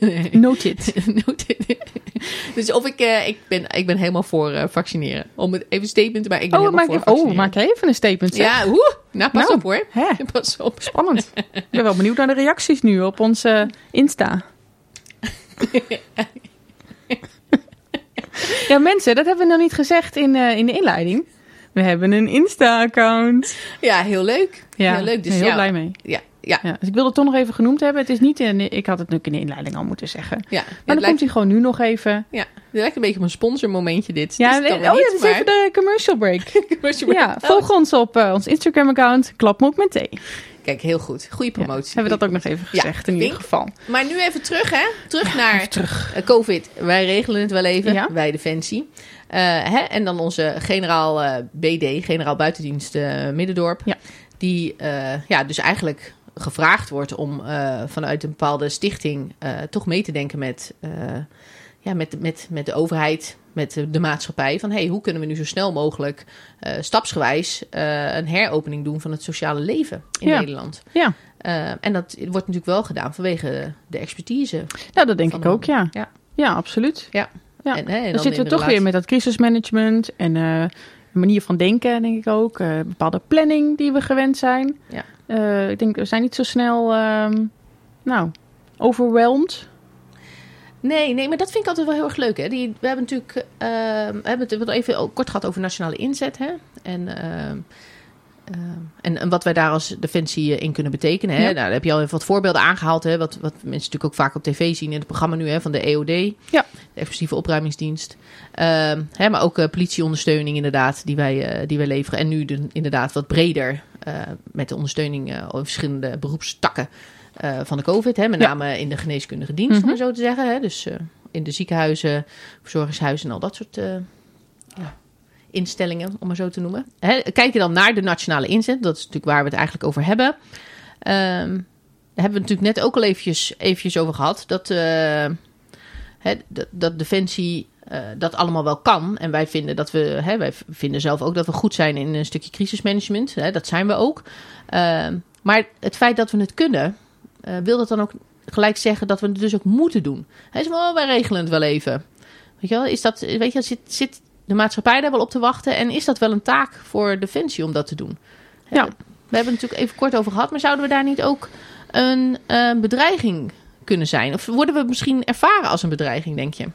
noted. Noted. dus of ik, eh, ik, ben, ik ben helemaal voor eh, vaccineren. Om het even een statement te maken. Ik ben Oh, helemaal maak, voor oh, vaccineren. maak jij even een statement, zeg. Ja, hoe? Nou, pas Nou. op hoor. Hè? Pas op. Spannend. Ik ben wel benieuwd naar de reacties nu op onze Insta. ja, mensen, dat hebben we nog niet gezegd in, eh, in de inleiding. We hebben een Insta-account. Ja, heel leuk. Ja, heel leuk. Dus ben ja, heel blij mee. Ja, ja, Ja, dus ik wilde het toch nog even genoemd hebben. Het is niet in, ik had het natuurlijk in de inleiding al moeten zeggen. Maar ja. dan het, komt lijkt, hij gewoon nu nog even. ja. het lijkt een beetje op een sponsormomentje dit. Ja, dat is het en- dan oh weer ja, niet, dit is even de commercial break. maar- Ja, Oh. volg ons op eh, ons Instagram-account. Klap me op mijn thee. Kijk, heel goed. Goede Ja, promotie. hebben we dat ook nog even Ja, gezegd in ieder Wink. geval. Maar nu even terug, hè? Terug naar Terug. eh, COVID. Wij regelen het wel even, Ja. wij Defensie. Eh, hè? En dan onze generaal eh, BD, generaal buitendienst eh, Middendorp. Ja. Die eh, ja, dus eigenlijk gevraagd wordt om eh, vanuit een bepaalde stichting eh, toch mee te denken met, eh, ja, met, met, met de overheid, met de, de maatschappij. Van hey, hoe kunnen we nu zo snel mogelijk eh, stapsgewijs eh, een heropening doen van het sociale leven in Ja. Nederland? Ja. Eh, en dat wordt natuurlijk wel gedaan vanwege de expertise. Ja, Nou, dat denk Van ik de ook, ja. Ja. Ja, absoluut. Ja. En, hè, en Dan, dan zitten we in toch relatie- weer met dat crisismanagement en eh, een manier van denken, denk ik ook. Eh, bepaalde planning die we gewend zijn. Ja. Eh, ik denk, we zijn niet zo snel, ehm, nou, overwhelmed. Nee, nee, maar dat vind ik altijd wel heel erg leuk. Hè? Die, we hebben natuurlijk eh, we hebben het wel even ook kort gehad over nationale inzet. Hè? En, ehm, ehm, en, en wat wij daar als defensie eh, in kunnen betekenen. Hè? Ja. Nou, daar heb je al even wat voorbeelden aangehaald. Hè? Wat, wat mensen natuurlijk ook vaak op tv zien in het programma nu hè, van de EOD. Ja. De Explosieve Opruimingsdienst. Ehm, hè, maar ook eh, politieondersteuning inderdaad die wij, eh, die wij leveren. En nu de- inderdaad wat breder eh, met de ondersteuning eh over verschillende beroepstakken eh, van de COVID. Hè, met Ja. name in de geneeskundige dienst, om het zo te zeggen. Hè, dus eh, in de ziekenhuizen, verzorgingshuizen en al dat soort eh, ja, instellingen, om maar zo te noemen. Hè, kijk je dan naar de nationale inzet, dat is natuurlijk waar we het eigenlijk over hebben. Ehm, daar hebben we het natuurlijk net ook al eventjes, eventjes over gehad. Dat, eh, hè, dat, dat Defensie eh, dat allemaal wel kan. En wij vinden, dat we, hè, wij v- vinden zelf ook dat we goed zijn in een stukje crisismanagement. Hè, dat zijn we ook. Ehm, maar het feit dat we het kunnen, eh, wil dat dan ook gelijk zeggen dat we het dus ook moeten doen. Hij zegt, oh, wij regelen het wel even. Weet je wel, is dat, weet je, zit, zit de maatschappij daar wel op te wachten? En is dat wel een taak voor Defensie om dat te doen? Eh, Ja. We hebben het natuurlijk even kort over gehad, maar zouden we daar niet ook een eh, bedreiging kunnen zijn? Of worden we misschien ervaren als een bedreiging, denk je?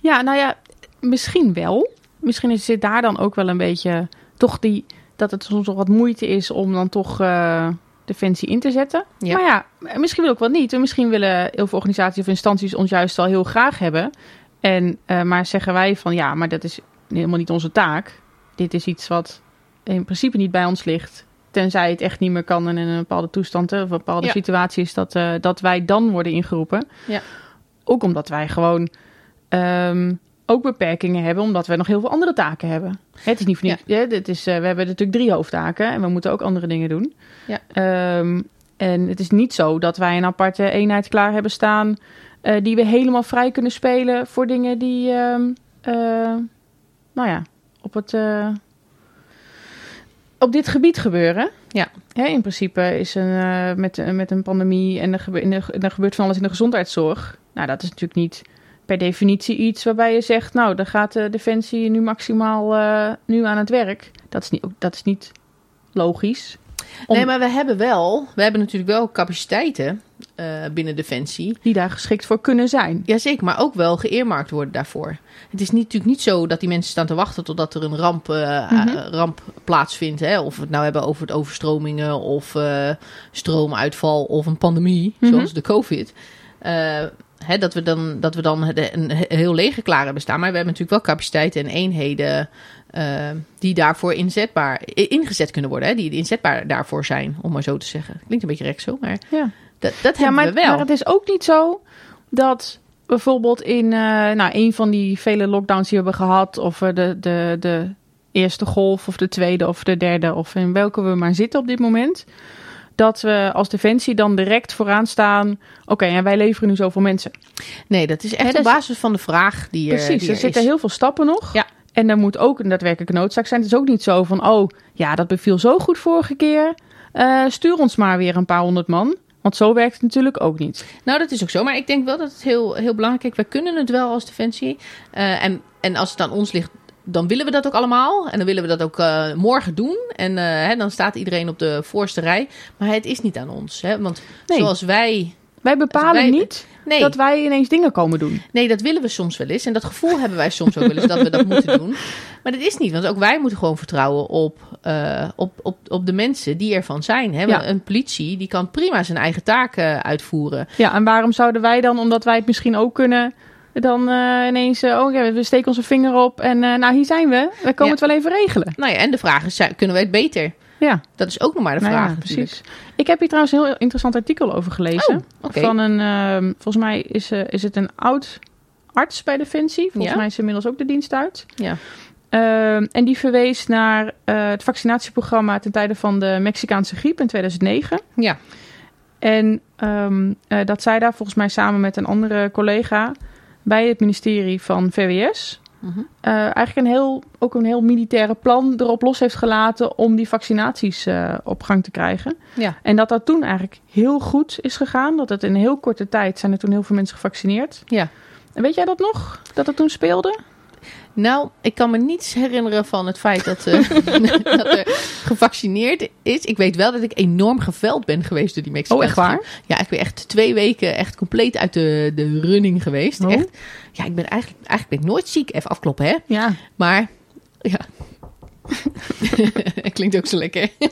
Ja, nou ja, misschien wel. Misschien is- zit daar dan ook wel een beetje toch die, dat het soms nog wat moeite is om dan toch eh defensie in te zetten. Ja. Maar ja, misschien wil ook wel niet. En Misschien willen heel veel organisaties of instanties ons juist wel heel graag hebben. En, eh, maar zeggen wij van ja, maar dat is helemaal niet onze taak. Dit is iets wat in principe niet bij ons ligt. Tenzij het echt niet meer kan en in een bepaalde toestand eh, of een bepaalde Ja. situatie is dat, eh, dat wij dan worden ingeroepen. Ja. Ook omdat wij gewoon ehm, ook beperkingen hebben, omdat wij nog heel veel andere taken hebben. Het is niet voor niets. hè, dit is, eh, we hebben natuurlijk drie hoofdtaken en we moeten ook andere dingen doen. Ja. Ehm, en het is niet zo dat wij een aparte eenheid klaar hebben staan. eh, die we helemaal vrij kunnen spelen voor dingen die. ehm, eh, nou ja, op het. eh, op dit gebied gebeuren. Ja. Hè, in principe is een, eh, met, eh, met een pandemie en er, gebe- in de, en er gebeurt van alles in de gezondheidszorg. Nou, dat is natuurlijk niet per definitie iets waarbij je zegt, nou, dan gaat de Defensie nu maximaal eh, nu aan het werk. Dat is niet, ook- dat is niet logisch. Om- Nee, maar we hebben wel, we hebben natuurlijk wel capaciteiten eh, binnen Defensie. Die daar geschikt voor kunnen zijn. Jazeker, maar ook wel geëermarkt worden daarvoor. Het is niet, natuurlijk niet zo dat die mensen staan te wachten totdat er een ramp, eh, Mhm. eh, ramp plaatsvindt. Hè? Of we het nou hebben over het overstromingen of eh, stroomuitval of een pandemie, Mhm. zoals de COVID. Eh, hè, dat we dan, dat we dan het- een he- heel leger klaar hebben staan. Maar we hebben natuurlijk wel capaciteiten en eenheden eh, die daarvoor inzetbaar, i- ingezet kunnen worden. Hè? Die inzetbaar daarvoor zijn, om maar zo te zeggen. Klinkt een beetje rechts zo, maar Ja. dat, dat Ja, hebben maar, we wel. maar het is ook niet zo dat bijvoorbeeld in eh, nou, een van die vele lockdowns die we hebben gehad, of eh, de, de, de eerste golf, of de tweede, of de derde, of in welke we maar zitten op dit moment, dat we als Defensie dan direct vooraan staan. Oké, en wij leveren nu zoveel mensen. Nee, dat is echt Hè, op dus- basis van de vraag die er, Precies, die er er zitten is. heel veel stappen nog. Ja. En er moet ook een daadwerkelijke noodzaak zijn. Het is ook niet zo van, oh ja, dat beviel zo goed vorige keer. Eh, stuur ons maar weer een paar honderd man. Want zo werkt het natuurlijk ook niet. Nou, dat is ook zo. Maar ik denk wel dat het heel, heel belangrijk is. Wij kunnen het wel als Defensie. Eh, en, en als het aan ons ligt, dan willen we dat ook allemaal. En dan willen we dat ook eh, morgen doen. En eh, hè, dan staat iedereen op de voorste rij. Maar het is niet aan ons. Hè? Want Nee. zoals wij... Wij bepalen Dus wij- niet Nee. dat wij ineens dingen komen doen. Nee, dat willen we soms wel eens. En dat gevoel hebben wij soms ook wel eens dat we dat moeten doen. Maar dat is niet, want ook wij moeten gewoon vertrouwen op, eh, op, op, op de mensen die ervan zijn. Hè? Want Ja. Een politie die kan prima zijn eigen taken uitvoeren. Ja, en waarom zouden wij dan, omdat wij het misschien ook kunnen, dan eh, ineens, eh, oh ja, we steken onze vinger op en eh, nou, hier zijn we. We komen Ja. het wel even regelen. Nou ja, en de vraag is, zijn- kunnen wij het beter? Ja, Dat is ook nog maar de nou vraag. ja, natuurlijk. precies. Ik heb hier trouwens een heel interessant artikel over gelezen. Oh, oké. Van een, ehm, volgens mij is, eh, is het een oud arts bij Defensie. Volgens Ja. mij is ze inmiddels ook de dienst uit. Ja. Ehm, en die verwees naar eh, het vaccinatieprogramma ten tijde van de Mexicaanse griep in 2009. Ja. En ehm, eh, dat zij daar volgens mij samen met een andere collega bij het ministerie van VWS Mhm. eh, eigenlijk een heel, ook een heel militaire plan erop los heeft gelaten om die vaccinaties eh, op gang te krijgen. Ja. En dat dat toen eigenlijk heel goed is gegaan. Dat het in heel korte tijd zijn er toen heel veel mensen gevaccineerd. Ja. En weet jij dat nog? Dat het toen speelde? Nou, ik kan me niets herinneren van het feit dat, eh, dat er gevaccineerd is. Ik weet wel dat ik enorm geveld ben geweest door die Mexicaanse Oh, echt waar? griep. Ja, ik ben echt twee weken echt compleet uit de, de running geweest. Oh. Echt. Ja, ik ben eigenlijk, eigenlijk ben ik nooit ziek. Even afkloppen, hè? Ja. Maar, ja. Klinkt ook zo lekker.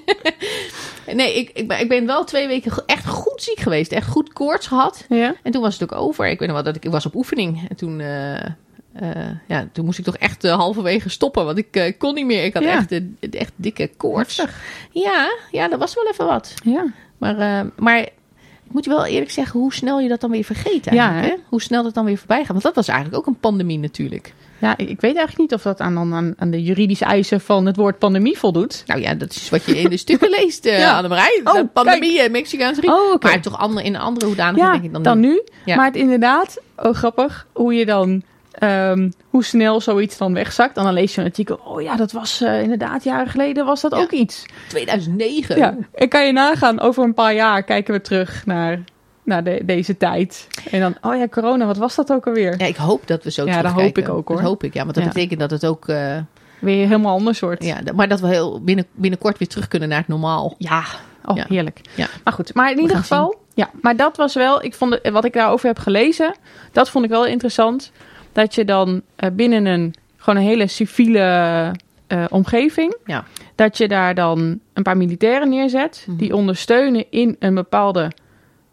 nee, ik, ik, ben, ik ben wel twee weken go- echt goed ziek geweest. Echt goed koorts gehad. Ja. En toen was het ook over. Ik weet nog wel dat ik, ik was op oefening. En toen, eh, eh, ja, toen moest ik toch echt eh, halverwege stoppen. Want ik eh, kon niet meer. Ik had Ja. echt, eh, echt dikke koorts. Ja, ja, dat was wel even wat. Ja. Maar, eh, maar ik moet je wel eerlijk zeggen hoe snel je dat dan weer vergeet Ja, eigenlijk. hè? hè? Hoe snel dat dan weer voorbij gaat. Want dat was eigenlijk ook een pandemie natuurlijk. Ja, ik ik weet eigenlijk niet of dat aan, aan, aan de juridische eisen van het woord pandemie voldoet. Nou ja, dat is wat je in de stukken leest, eh Ja. Annemarij. Oh, De pandemie, eh, Mexicaanse griep. Oh, oké. Maar toch ander, in een andere hoedanigheid Ja, denk ik dan, dan nu. Ja. Maar het inderdaad, oh, grappig, hoe je dan, ehm, hoe snel zoiets dan wegzakt. En dan lees je een artikel, oh ja, dat was eh, inderdaad jaren geleden, was dat Ja. ook iets. 2009. Ja. En kan je nagaan, over een paar jaar kijken we terug naar, naar de- deze tijd. En dan, oh ja, corona, wat was dat ook alweer? Ja, ik hoop dat we zo Ja, dat terugkijken. hoop ik ook, hoor. Dat hoop ik, ja. Want dat Ja. betekent dat het ook... eh, Weer helemaal ander soort. ja, dat- maar dat we heel binnen, binnenkort weer terug kunnen naar het normaal. Ja, oh, Ja. heerlijk. Ja. Maar goed, maar in ieder gaan geval. Ja, maar dat was wel, ik vond, het- wat ik daarover heb gelezen, dat vond ik wel interessant. Dat je dan eh, binnen een, gewoon een hele civiele eh, omgeving, Ja. dat je daar dan een paar militairen neerzet. Mhm. Die ondersteunen in een bepaalde,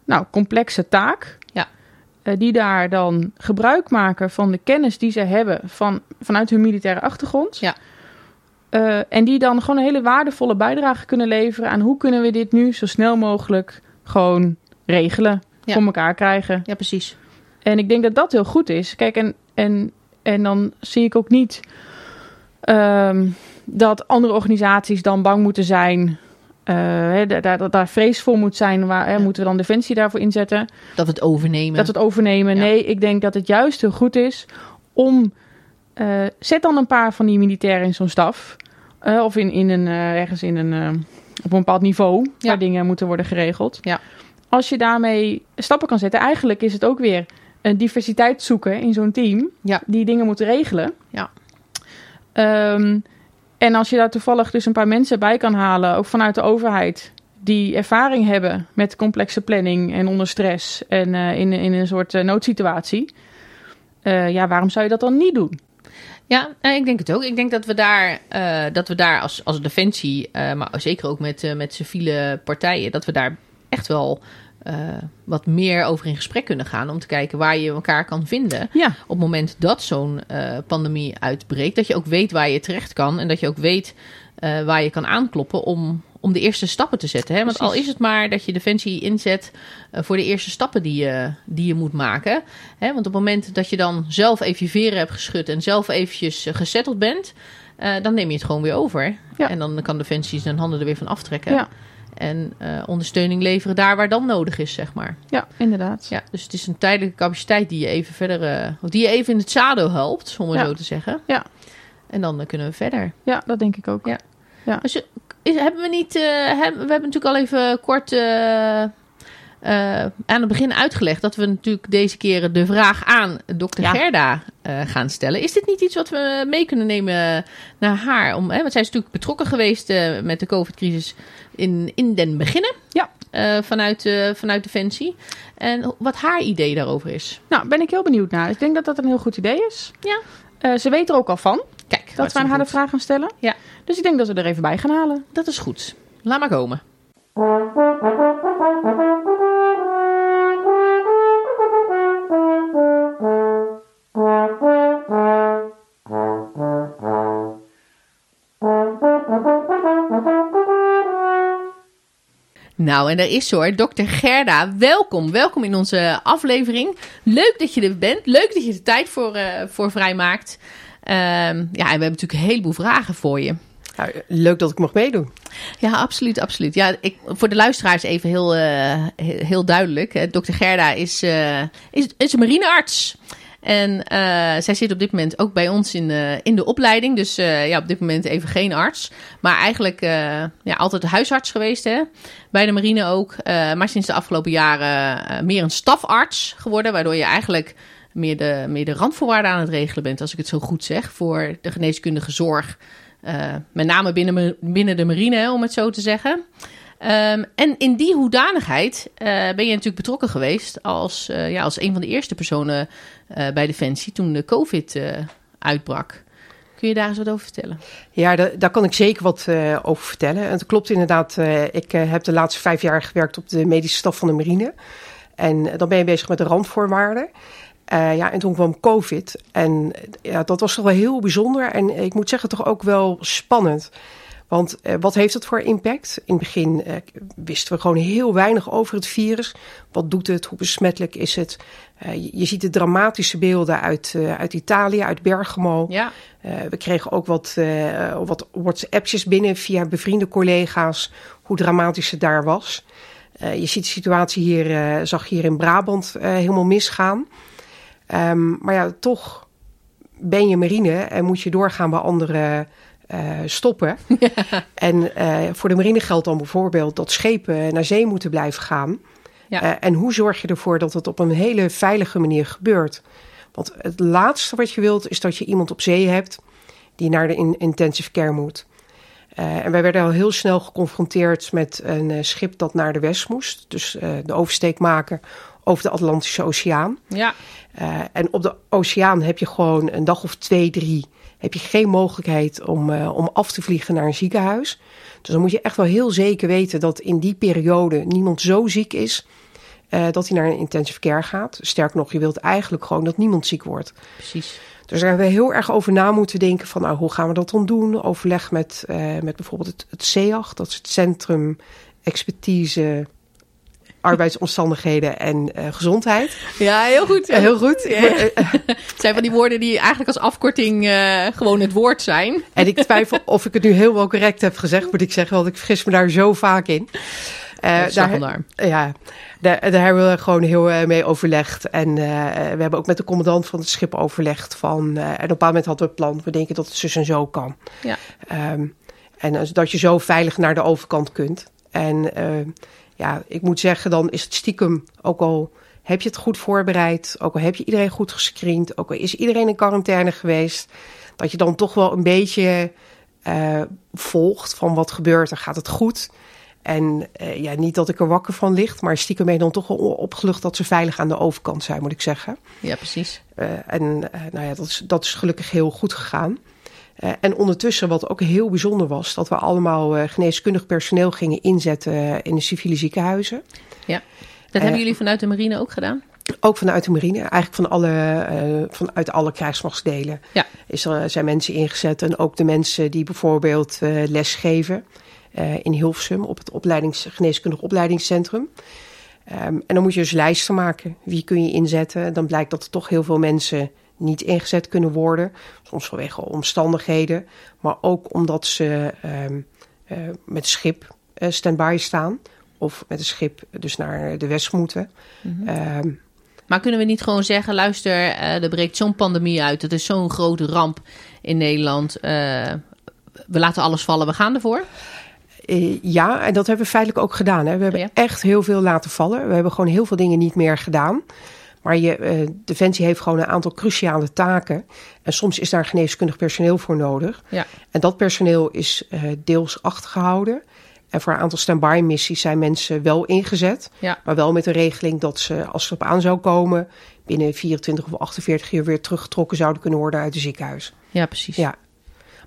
nou, complexe taak. Ja. Eh, die daar dan gebruik maken van de kennis die ze hebben van, vanuit hun militaire achtergrond. Ja. Eh, en die dan gewoon een hele waardevolle bijdrage kunnen leveren aan hoe kunnen we dit nu zo snel mogelijk gewoon regelen, Ja. voor elkaar krijgen. Ja, precies. En ik denk dat dat heel goed is. Kijk, en, en, en dan zie ik ook niet ehm, dat andere organisaties dan bang moeten zijn. eh, hè, daar, daar, daar vrees voor moet zijn. Waar, hè, Ja. Moeten we dan Defensie daarvoor inzetten? Dat we het overnemen. Dat we het overnemen. Ja. Nee, ik denk dat het juist heel goed is om. eh, zet dan een paar van die militairen in zo'n staf. eh, of in, in een, eh, ergens in een, eh, op een bepaald niveau. Ja. Waar dingen moeten worden geregeld. Ja. Als je daarmee stappen kan zetten. Eigenlijk is het ook weer een diversiteit zoeken in zo'n team. Ja. Die dingen moet regelen. Ja. Ehm, en als je daar toevallig dus een paar mensen bij kan halen. Ook vanuit de overheid die ervaring hebben met complexe planning en onder stress en eh, in, in een soort eh, noodsituatie. Eh, ja, waarom zou je dat dan niet doen? Ja, eh, ik denk het ook. Ik denk dat we daar, eh, dat we daar als, als defensie, eh, maar zeker ook met, eh, met civiele partijen, dat we daar echt wel eh, wat meer over in gesprek kunnen gaan. Om te kijken waar je elkaar kan vinden. Ja, Op het moment dat zo'n eh, pandemie uitbreekt, dat je ook weet waar je terecht kan. En dat je ook weet eh, waar je kan aankloppen om, om de eerste stappen te zetten. Hè? Want al Precies. is het maar dat je defensie inzet eh, voor de eerste stappen die je, die je moet maken. Hè? Want op het moment dat je dan zelf even je veren hebt geschud en zelf eventjes eh, gezetteld bent, eh, dan neem je het gewoon weer over. Ja. En dan kan defensie zijn handen er weer van aftrekken. Ja. En eh, ondersteuning leveren daar waar dan nodig is, zeg maar. ja inderdaad. Ja, dus het is een tijdelijke capaciteit die je even verder, eh, of die je even in het zadel helpt, om het Ja. zo te zeggen. Ja. En dan eh, kunnen we verder. Ja, dat denk ik ook. Ja. Als je, is- hebben we niet. eh, hebben- we hebben natuurlijk al even kort. eh, eh, aan het begin uitgelegd dat we natuurlijk deze keer de vraag aan dokter Ja. Gerda eh, gaan stellen. Is dit niet iets wat we mee kunnen nemen naar haar? Om, hè, want zij is natuurlijk betrokken geweest eh, met de COVID-crisis in, in den beginnen Ja. Eh, vanuit, eh vanuit Defensie. En ho- wat haar idee daarover is. Nou, ben ik heel benieuwd naar. Ik denk dat dat een heel goed idee is. Ja. Eh, ze weet er ook al van Kijk, dat wij aan haar de hartstikke vraag gaan stellen. Ja. Dus ik denk dat we er even bij gaan halen. goed. Dat is goed. Laat maar komen. Nou, en daar is ze hoor. Dr. Gerda, welkom. Welkom in onze aflevering. Leuk dat je er bent. Leuk dat je er tijd voor, eh, voor vrijmaakt. Ehm, ja, en we hebben natuurlijk een heleboel vragen voor je. Ja, Nou, leuk dat ik mocht meedoen. Ja, absoluut, absoluut. Ja, ik, voor de luisteraars even heel, eh, he- heel duidelijk. Eh, Dr. Gerda is, eh, is, is een marinearts. En eh, zij zit op dit moment ook bij ons in, eh, in de opleiding. Dus eh, ja, op dit moment even geen arts. Maar eigenlijk eh, ja, altijd huisarts geweest, hè? bij de marine ook. Eh, maar sinds de afgelopen jaren eh, meer een stafarts geworden. Waardoor je eigenlijk meer de, meer de randvoorwaarden aan het regelen bent, als ik het zo goed zeg, voor de geneeskundige zorg. Eh, met name binnen, me- binnen de marine, hè, om het zo te zeggen. Ehm, en in die hoedanigheid eh, ben je natuurlijk betrokken geweest als, eh, ja, als een van de eerste personen eh, bij Defensie toen de COVID eh, uitbrak. Kun je daar eens wat over vertellen? Ja, da- daar kan ik zeker wat eh, over vertellen. En het klopt inderdaad, eh, ik eh, heb de laatste vijf jaar gewerkt op de medische staf van de marine. En eh, dan ben je bezig met de randvoorwaarden. Eh, ja, en toen kwam COVID. En eh, ja, dat was toch wel heel bijzonder. En eh, ik moet zeggen, toch ook wel spannend. Want eh, wat heeft dat voor impact? In het begin eh, wisten we gewoon heel weinig over het virus. Wat doet het? Hoe besmettelijk is het? Eh, je, je ziet de dramatische beelden uit, eh, uit Italië, uit Bergamo. Ja, Eh, we kregen ook wat, eh, wat WhatsAppjes binnen via bevriende collega's, hoe dramatisch het daar was. Eh, je ziet de situatie hier, eh, zag hier in Brabant eh, helemaal misgaan. Ehm, maar ja, toch ben je marine en moet je doorgaan waar anderen eh, stoppen. En eh, voor de marine geldt dan bijvoorbeeld dat schepen naar zee moeten blijven gaan. Ja. Eh, en hoe zorg je ervoor dat het op een hele veilige manier gebeurt? Want het laatste wat je wilt is dat je iemand op zee hebt die naar de in- intensive care moet. Eh, en wij werden al heel snel geconfronteerd met een eh, schip dat naar de west moest. Dus eh, de oversteek maken over de Atlantische Oceaan. ja, Eh, en op de oceaan heb je gewoon een dag of twee, drie... heb je geen mogelijkheid om, eh, om af te vliegen naar een ziekenhuis. Dus dan moet je echt wel heel zeker weten... dat in die periode niemand zo ziek is... eh, dat hij naar een intensive care gaat. Sterker nog, je wilt eigenlijk gewoon dat niemand ziek wordt. precies. Dus daar hebben we heel erg over na moeten denken van nou, hoe gaan we dat dan doen? Overleg met, eh, met bijvoorbeeld het, het CEAG, dat is het Centrum Expertise Arbeidsomstandigheden en eh, Gezondheid. Ja, heel goed. Eh, heel goed. Ik word- eh, Het zijn van die woorden die eigenlijk als afkorting eh, gewoon het woord zijn. En ik twijfel of ik het nu helemaal correct heb gezegd, moet ik zeggen, want ik vergis me daar zo vaak in. Eh, Uh, daar, ja, daar, daar hebben we gewoon heel eh, mee overlegd. En eh, we hebben ook met de commandant van het schip overlegd. Van, eh, en op een bepaald moment hadden we het plan. We denken dat het zus en zo kan. Ja. Ehm, en als- dat je zo veilig naar de overkant kunt. En ehm, ja, ik moet zeggen, dan is het stiekem ook al... Heb je het goed voorbereid? Ook al heb je iedereen goed gescreend? Ook al is iedereen in quarantaine geweest? Dat je dan toch wel een beetje eh, volgt van wat gebeurt er. Gaat het goed? En eh, ja, niet dat ik er wakker van ligt, maar stiekem ben je dan toch wel opgelucht dat ze veilig aan de overkant zijn, moet ik zeggen. Ja, precies. Eh, en eh, nou ja, dat is, dat is gelukkig heel goed gegaan. Eh, en ondertussen, wat ook heel bijzonder was, dat we allemaal eh, geneeskundig personeel gingen inzetten eh, in de civiele ziekenhuizen. Dat Eh, hebben jullie vanuit de marine ook gedaan? Ook vanuit de marine, eigenlijk van alle, eh, vanuit alle krijgsmachtsdelen Ja. is er, zijn mensen ingezet. En ook de mensen die bijvoorbeeld eh, lesgeven eh, in Hilversum op het opleidings, geneeskundig opleidingscentrum. Ehm, en dan moet je dus lijsten maken. Wie kun je inzetten? Dan blijkt dat er toch heel veel mensen niet ingezet kunnen worden. Soms vanwege omstandigheden, maar ook omdat ze ehm, eh, met schip eh stand-by staan. Of met een schip dus naar de west moeten. Ehm, Maar kunnen we niet gewoon zeggen, luister, eh, er breekt zo'n pandemie uit. Het is zo'n grote ramp in Nederland. Eh, we laten alles vallen, we gaan ervoor. Eh, ja, en dat hebben we feitelijk ook gedaan. Hè. We hebben Ja. echt heel veel laten vallen. We hebben gewoon heel veel dingen niet meer gedaan. Maar je, eh, Defensie heeft gewoon een aantal cruciale taken. En soms is daar geneeskundig personeel voor nodig. Ja. En dat personeel is eh, deels achtergehouden. En voor een aantal stand-by missies zijn mensen wel ingezet. Ja. Maar wel met de regeling dat ze, als ze op aan zou komen... binnen 24 of 48 uur weer teruggetrokken zouden kunnen worden uit het ziekenhuis. Ja, precies. Ja.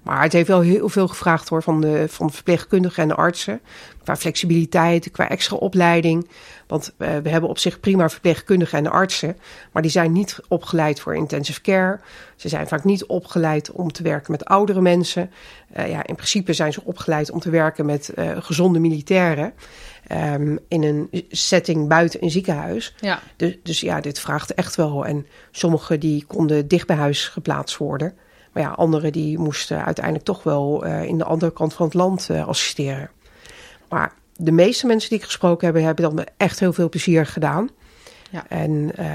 Maar het heeft wel heel veel gevraagd hoor, van, de, van verpleegkundigen en de artsen. Qua flexibiliteit, qua extra opleiding. Want eh, we hebben op zich prima verpleegkundigen en artsen. Maar die zijn niet opgeleid voor intensive care. Ze zijn vaak niet opgeleid om te werken met oudere mensen. Eh, ja, in principe zijn ze opgeleid om te werken met eh, gezonde militairen. ehm, in een setting buiten een ziekenhuis. Ja. Dus, dus ja, dit vraagt echt wel. En sommigen die konden dicht bij huis geplaatst worden. Maar ja, anderen die moesten uiteindelijk toch wel eh, in de andere kant van het land eh, assisteren. Maar de meeste mensen die ik gesproken heb, hebben dat met echt heel veel plezier gedaan. Ja. En eh,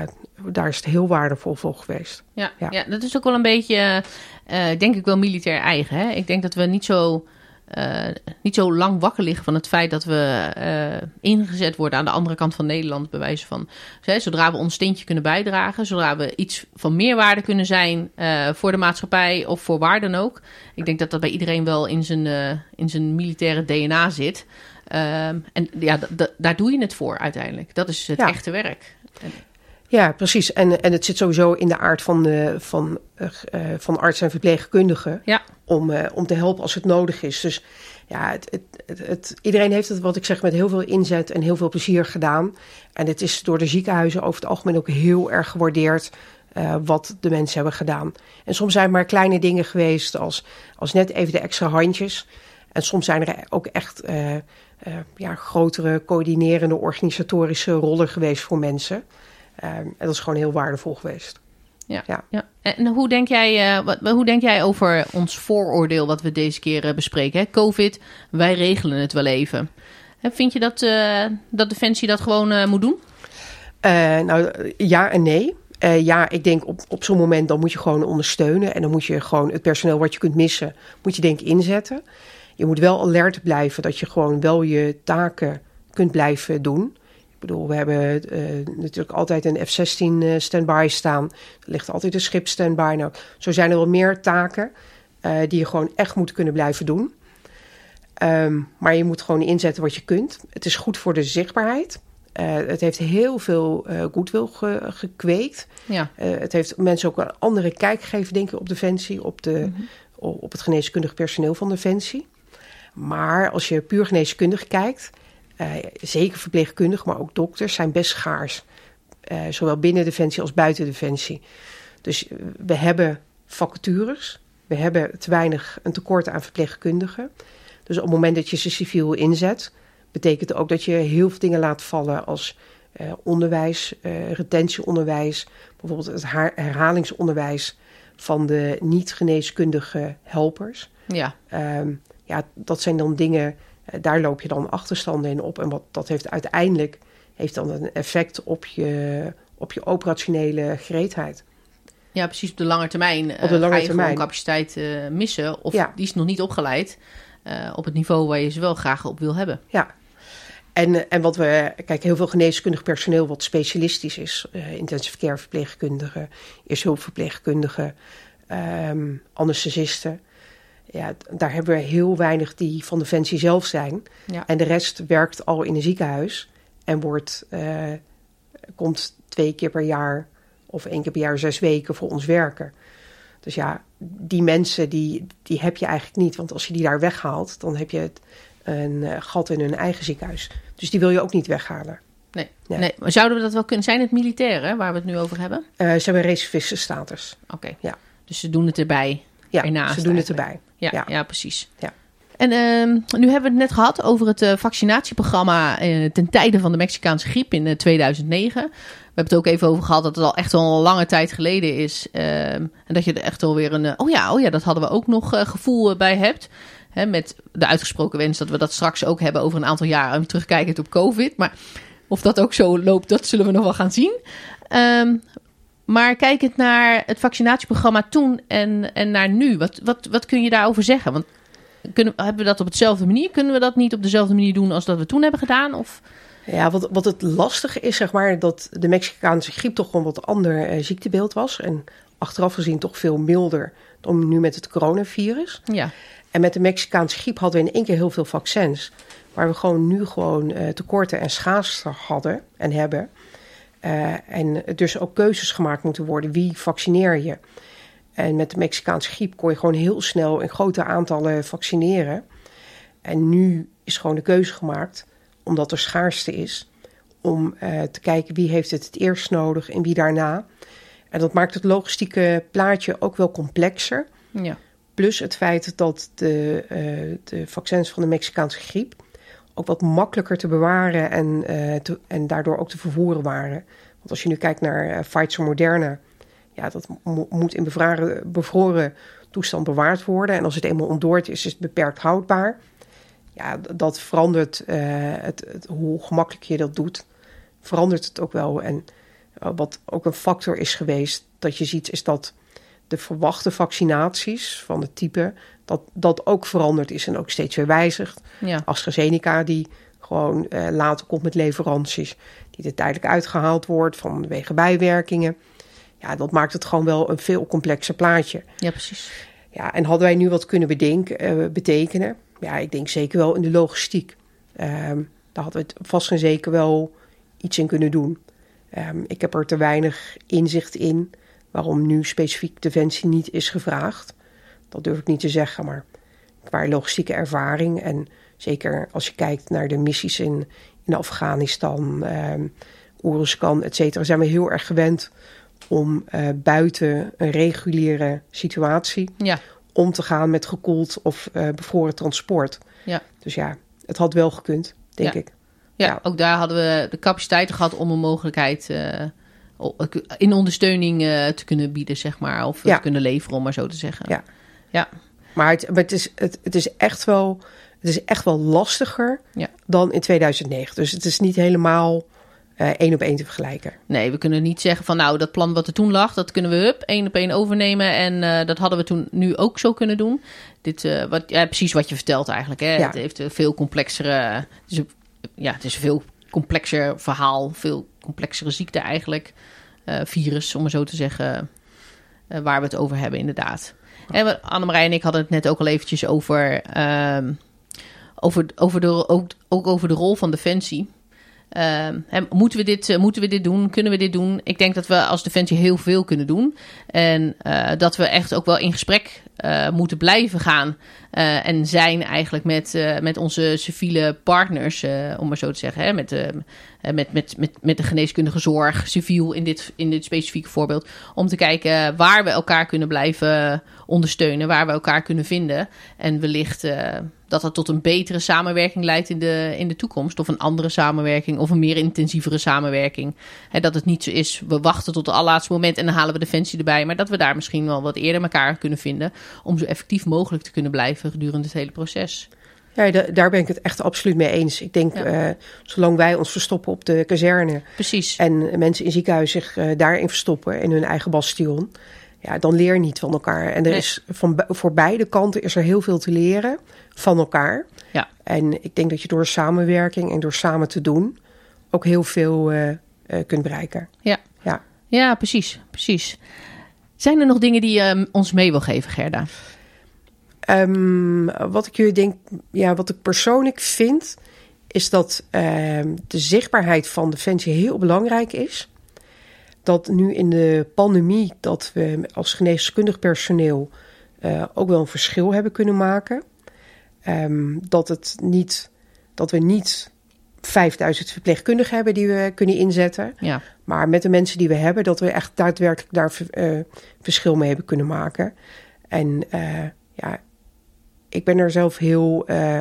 daar is het heel waardevol voor geweest. Ja, ja. Ja. dat is ook wel een beetje, eh, eh, denk ik wel, militair eigen. Hè? Ik denk dat we niet zo, eh, niet zo lang wakker liggen van het feit dat we eh, ingezet worden aan de andere kant van Nederland. Bij wijze van, Dus, hè, zodra we ons steentje kunnen bijdragen, zodra we iets van meerwaarde kunnen zijn eh, voor de maatschappij of voor waar dan ook. Ik denk dat dat bij iedereen wel in zijn, eh, in zijn militaire DNA zit. Ehm, en ja, d- d- daar doe je het voor uiteindelijk. Dat is het Ja. echte werk. Ja, precies. En, en het zit sowieso in de aard van, eh, van, eh, eh, van arts en verpleegkundigen. Ja. om, eh, om te helpen als het nodig is. Dus ja, het, het, het, het- iedereen heeft het, wat ik zeg, met heel veel inzet en heel veel plezier gedaan. En het is door de ziekenhuizen over het algemeen ook heel erg gewaardeerd. eh, wat de mensen hebben gedaan. En soms zijn het maar kleine dingen geweest, als, als net even de extra handjes. En soms zijn er ook echt eh, eh, ja, grotere, coördinerende, organisatorische rollen geweest voor mensen. Eh, en dat is gewoon heel waardevol geweest. Ja. ja. Ja. En hoe denk, jij, eh, wat, hoe denk jij over ons vooroordeel wat we deze keer eh, bespreken? Hè? Covid, wij regelen het wel even. Hè, vind je dat, eh, dat Defensie dat gewoon eh, moet doen? Eh, nou, ja en nee. Eh, ja, ik denk op, op zo'n moment dan moet je gewoon ondersteunen. En dan moet je gewoon het personeel wat je kunt missen, moet je denk ik inzetten. Je moet wel alert blijven dat je gewoon wel je taken kunt blijven doen. Ik bedoel, we hebben eh, natuurlijk altijd een F-16 eh, standby staan. Er ligt altijd een schip standby. Nou, zo zijn er wel meer taken eh, die je gewoon echt moet kunnen blijven doen. Ehm, maar je moet gewoon inzetten wat je kunt. Het is goed voor de zichtbaarheid. Eh, het heeft heel veel eh goodwill ge- gekweekt. Ja, Eh, het heeft mensen ook een andere kijk gegeven, denk ik, op Defensie, op, de, o- op het geneeskundig personeel van Defensie. Maar als je puur geneeskundig kijkt, eh, zeker verpleegkundig, maar ook dokters zijn best schaars. Eh, zowel binnen Defensie als buiten Defensie. Dus eh, we hebben vacatures, we hebben te weinig een tekort aan verpleegkundigen. Dus op het moment dat je ze civiel inzet, betekent ook dat je heel veel dingen laat vallen als eh, onderwijs, eh, retentieonderwijs, bijvoorbeeld het haar- herhalingsonderwijs van de niet-geneeskundige helpers. ja, Ehm, ja, dat zijn dan dingen, eh, daar loop je dan achterstanden in op. En wat, dat heeft uiteindelijk heeft dan een effect op je, op je operationele gereedheid. ja, precies op de lange termijn. eh, Op de lange ga je termijn. gewoon capaciteit eh, missen of Ja. die is nog niet opgeleid eh, op het niveau waar je ze wel graag op wil hebben. Ja. En, en wat we, kijk, heel veel geneeskundig personeel wat specialistisch is. eh, intensive care verpleegkundigen, eerste hulpverpleegkundigen, ehm anesthesisten. Ja, d- daar hebben we heel weinig die van Defensie zelf zijn. Ja. En de rest werkt al in een ziekenhuis en wordt, eh, komt twee keer per jaar of één keer per jaar zes weken voor ons werken. Dus ja, die mensen die, die heb je eigenlijk niet. Want als je die daar weghaalt, dan heb je het- een eh, gat in hun eigen ziekenhuis. Dus die wil je ook niet weghalen. Nee. Nee. Nee. maar zouden we dat wel kunnen? Zijn het militairen waar we het nu over hebben? Eh, ze hebben reservistenstatus. Oké, Ja. dus ze doen het erbij. Ja, Ernaast ze doen het eigenlijk. Ja, erbij. ja. Ja. precies. Ja. En ehm, nu hebben we het net gehad over het eh, vaccinatieprogramma eh, ten tijde van de Mexicaanse griep in eh, 2009. We hebben het ook even over gehad dat het al echt al een lange tijd geleden is. ehm, en dat je er echt alweer een, eh, oh ja, oh ja, dat hadden we ook nog eh, gevoel eh, bij hebt. Hè, met de uitgesproken wens dat we dat straks ook hebben over een aantal jaren. Terugkijkend op COVID. Maar Of dat ook zo loopt, dat zullen we nog wel gaan zien. Ehm, maar kijkend naar het vaccinatieprogramma toen en, en naar nu, wat, wat, wat kun je daarover zeggen? Want kunnen, hebben we dat op dezelfde manier? Kunnen we dat niet op dezelfde manier doen als dat we toen hebben gedaan? Of Ja, wat, wat het lastige is, zeg maar, dat de Mexicaanse griep toch een wat ander eh, ziektebeeld was. En achteraf gezien toch veel milder dan nu met het coronavirus. ja, En met de Mexicaanse griep hadden we in één keer heel veel vaccins. Waar we gewoon nu gewoon eh, tekorten en schaarste hadden en hebben. Eh, en er dus ook keuzes gemaakt moeten worden. Wie vaccineer je? En met de Mexicaanse griep kon je gewoon heel snel in grote aantallen vaccineren. En nu is gewoon de keuze gemaakt, omdat er schaarste is, om eh, te kijken wie heeft het het eerst nodig en wie daarna. En dat maakt het logistieke plaatje ook wel complexer. ja. Plus het feit dat de, eh, de vaccins van de Mexicaanse griep ook wat makkelijker te bewaren en, eh, te- en daardoor ook te vervoeren waren. Want als je nu kijkt naar eh, Pfizer Moderna, ja, dat mo- moet in bevraren, bevroren toestand bewaard worden. En als het eenmaal ontdooid is, is het beperkt houdbaar. Ja, d- dat verandert eh, het, het, hoe gemakkelijk je dat doet, verandert het ook wel. En eh, wat ook een factor is geweest dat je ziet, is dat de verwachte vaccinaties van het type, dat dat ook veranderd is en ook steeds weer wijzigt. ja. AstraZeneca die gewoon eh, later komt met leveranties, die er tijdelijk uitgehaald wordt vanwege bijwerkingen. Ja, dat maakt het gewoon wel een veel complexer plaatje. Ja, precies. Ja, en hadden wij nu wat kunnen bedenken, eh, betekenen? Ja, ik denk zeker wel in de logistiek. Ehm, daar hadden we het vast en zeker wel iets in kunnen doen. Ehm, ik heb er te weinig inzicht in waarom nu specifiek Defensie niet is gevraagd. Dat durf ik niet te zeggen, maar qua logistieke ervaring en zeker als je kijkt naar de missies in, in Afghanistan, ehm Oeruzkan, et cetera, zijn we heel erg gewend om eh, buiten een reguliere situatie Ja, om te gaan met gekoeld of eh, bevroren transport. ja. Dus ja, het had wel gekund, denk Ja. ik. Ja, Ja. ook daar hadden we de capaciteit gehad om een mogelijkheid eh, o- in ondersteuning eh, te kunnen bieden, zeg maar. Of Ja. te kunnen leveren, om maar zo te zeggen. Ja. Ja, Maar het, maar het, is, het, het, is, echt wel, het is echt wel lastiger ja. dan in 2009. Dus het is niet helemaal eh, één op één te vergelijken. Nee, we kunnen niet zeggen van nou, dat plan wat er toen lag, dat kunnen we hup, één op één overnemen. En eh, dat hadden we toen nu ook zo kunnen doen. Dit, eh, wat, ja, precies wat je vertelt eigenlijk. Hè? Ja. Het heeft een veel complexere. het is een- ja, het is een veel complexer verhaal, veel complexere ziekte eigenlijk. Eh, virus, om het zo te zeggen, eh, waar we het over hebben, inderdaad. En we- Annemarij en ik hadden het net ook al eventjes over. ehm, over, over de, ook, ook over de rol van Defensie. Ehm, hè, moeten, we dit, eh, moeten we dit doen? Kunnen we dit doen? Ik denk dat we als Defensie heel veel kunnen doen. En eh, dat we echt ook wel in gesprek eh, moeten blijven gaan. eh, en zijn eigenlijk met, eh, met onze civiele partners, eh, om maar zo te zeggen. Hè, met, de, eh, met, met, met, met de geneeskundige zorg, civiel in dit, in dit specifieke voorbeeld. Om te kijken waar we elkaar kunnen blijven ondersteunen. Waar we elkaar kunnen vinden. En wellicht eh, dat dat tot een betere samenwerking leidt in de, in de toekomst. Of een andere samenwerking. Of een meer intensievere samenwerking. Hè, dat het niet zo is, we wachten tot het allerlaatste moment en dan halen we Defensie erbij. Maar dat we daar misschien wel wat eerder elkaar kunnen vinden. Om zo effectief mogelijk te kunnen blijven gedurende het hele proces. Ja, da- daar ben ik het echt absoluut mee eens. Ik denk, Ja. eh, zolang wij ons verstoppen op de kazerne Precies. en mensen in ziekenhuizen zich eh, daarin verstoppen in hun eigen bastion, ja, dan leer je niet van elkaar. En er Nee. is van, be- voor beide kanten is er heel veel te leren van elkaar. Ja. En ik denk dat je door samenwerking en door samen te doen ook heel veel eh, eh, kunt bereiken. Ja. Ja. ja, precies. precies. Zijn er nog dingen die je eh, ons mee wil geven, Gerda? Ehm, wat ik jullie denk, ja, wat ik persoonlijk vind, is dat ehm, de zichtbaarheid van Defensie heel belangrijk is. Dat nu in de pandemie dat we als geneeskundig personeel eh, ook wel een verschil hebben kunnen maken. Ehm, dat, het niet, dat we niet 5000 verpleegkundigen hebben die we kunnen inzetten. Ja, Maar met de mensen die we hebben, dat we echt daadwerkelijk daar eh, verschil mee hebben kunnen maken. En eh, ja, ik ben er zelf heel eh,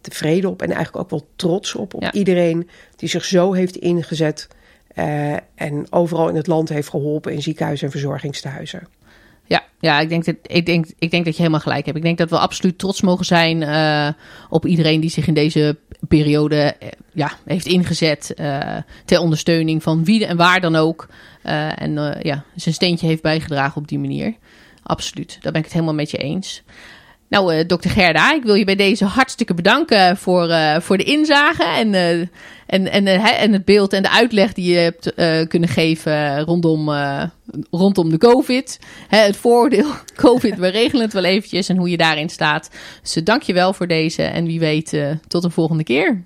tevreden op en eigenlijk ook wel trots op. Op Ja. iedereen die zich zo heeft ingezet eh, en overal in het land heeft geholpen in ziekenhuizen en verzorgingstehuizen. Ja, ja ik, denk dat, ik, denk, ik denk dat je helemaal gelijk hebt. Ik denk dat we absoluut trots mogen zijn eh, op iedereen die zich in deze periode eh, ja, heeft ingezet. eh, ter ondersteuning van wie en waar dan ook. Eh, en eh, ja, zijn steentje heeft bijgedragen op die manier. Absoluut, daar ben ik het helemaal met je eens. Nou, eh dokter Gerda, ik wil je bij deze hartstikke bedanken voor, eh, voor de inzage en, eh, en, en, eh, hè, en het beeld en de uitleg die je hebt eh, kunnen geven rondom, eh, rondom de COVID. Hè, het voordeel, COVID, we regelen het wel eventjes en hoe je daarin staat. Dus eh, dank je wel voor deze en wie weet eh, tot een volgende keer.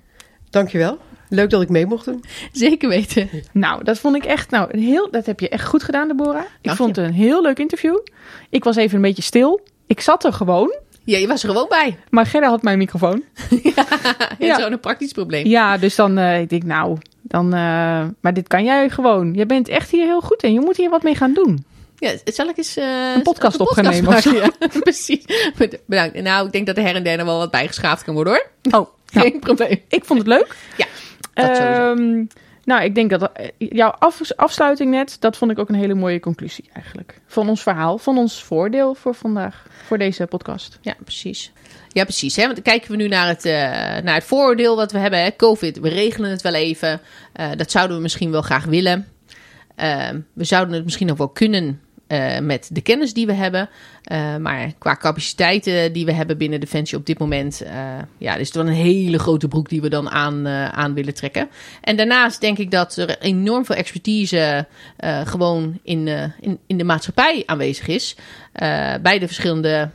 Dankjewel. Leuk dat ik mee mocht doen. Zeker weten. Nou, dat vond ik echt. Nou, een heel, dat heb je echt goed gedaan, Deborah. Ik je. vond het een heel leuk interview. Ik was even een beetje stil. Ik zat er gewoon, Ja, je was er gewoon bij. maar Gerda had mijn microfoon. Ja. Ja. Zo'n praktisch probleem. Ja, dus dan eh, ik denk nou, dan. eh, maar dit kan jij gewoon. Je bent echt hier heel goed in. Je moet hier wat mee gaan doen. Ja, zal ik eens eh, Een podcast opgenomen maken? Ja, precies. Bedankt. Nou, ik denk dat er her en der nog wel wat bijgeschaafd kan worden hoor. Oh, Geen probleem. ik vond het leuk. Ja, dat sowieso. Ehm, nou, ik denk dat eh, jouw af- afsluiting net, dat vond ik ook een hele mooie conclusie eigenlijk. Van ons verhaal, van ons voordeel voor vandaag, voor deze podcast. Ja, precies. Ja, precies. Hè? Want dan kijken we nu naar het, eh, naar het vooroordeel wat we hebben. Hè? COVID, we regelen het wel even. Eh, dat zouden we misschien wel graag willen. Ehm, we zouden het misschien nog wel kunnen eh, met de kennis die we hebben. Eh, maar qua capaciteiten die we hebben binnen Defensie op dit moment... eh ja, is het wel een hele grote broek die we dan aan, eh, aan willen trekken. En daarnaast denk ik dat er enorm veel expertise eh, gewoon in, eh, in, in de maatschappij aanwezig is. Eh, bij de verschillende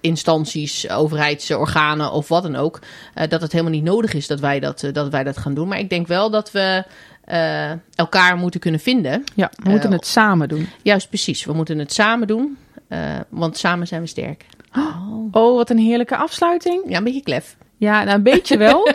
instanties, overheidsorganen of wat dan ook. eh, dat het helemaal niet nodig is dat wij dat, eh, dat wij dat gaan doen. Maar ik denk wel dat we eh, elkaar moeten kunnen vinden. Ja, we moeten Eh, het samen doen. Juist precies, we moeten het samen doen. eh, want samen zijn we sterk. Oh, wat een heerlijke afsluiting. Ja, een beetje klef. Ja, nou, een beetje wel.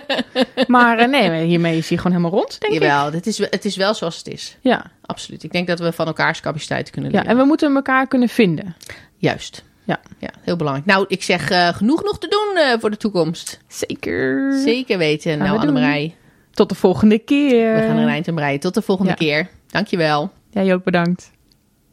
maar eh, nee, hiermee is hij gewoon helemaal rond, denk ik. Jawel, het is, het is wel zoals het is. Ja. Absoluut. Ik denk dat we van elkaars capaciteiten kunnen ja, leren. en we moeten elkaar kunnen vinden. Juist. Ja. ja, heel belangrijk. Nou, ik zeg eh, genoeg nog te doen eh, voor de toekomst. Zeker. Zeker weten. we Nou, doen. Annemarij, Tot de volgende keer. Eh. we gaan er een eind aan breien. Tot de volgende Ja. keer. Dankjewel. Jij ook bedankt.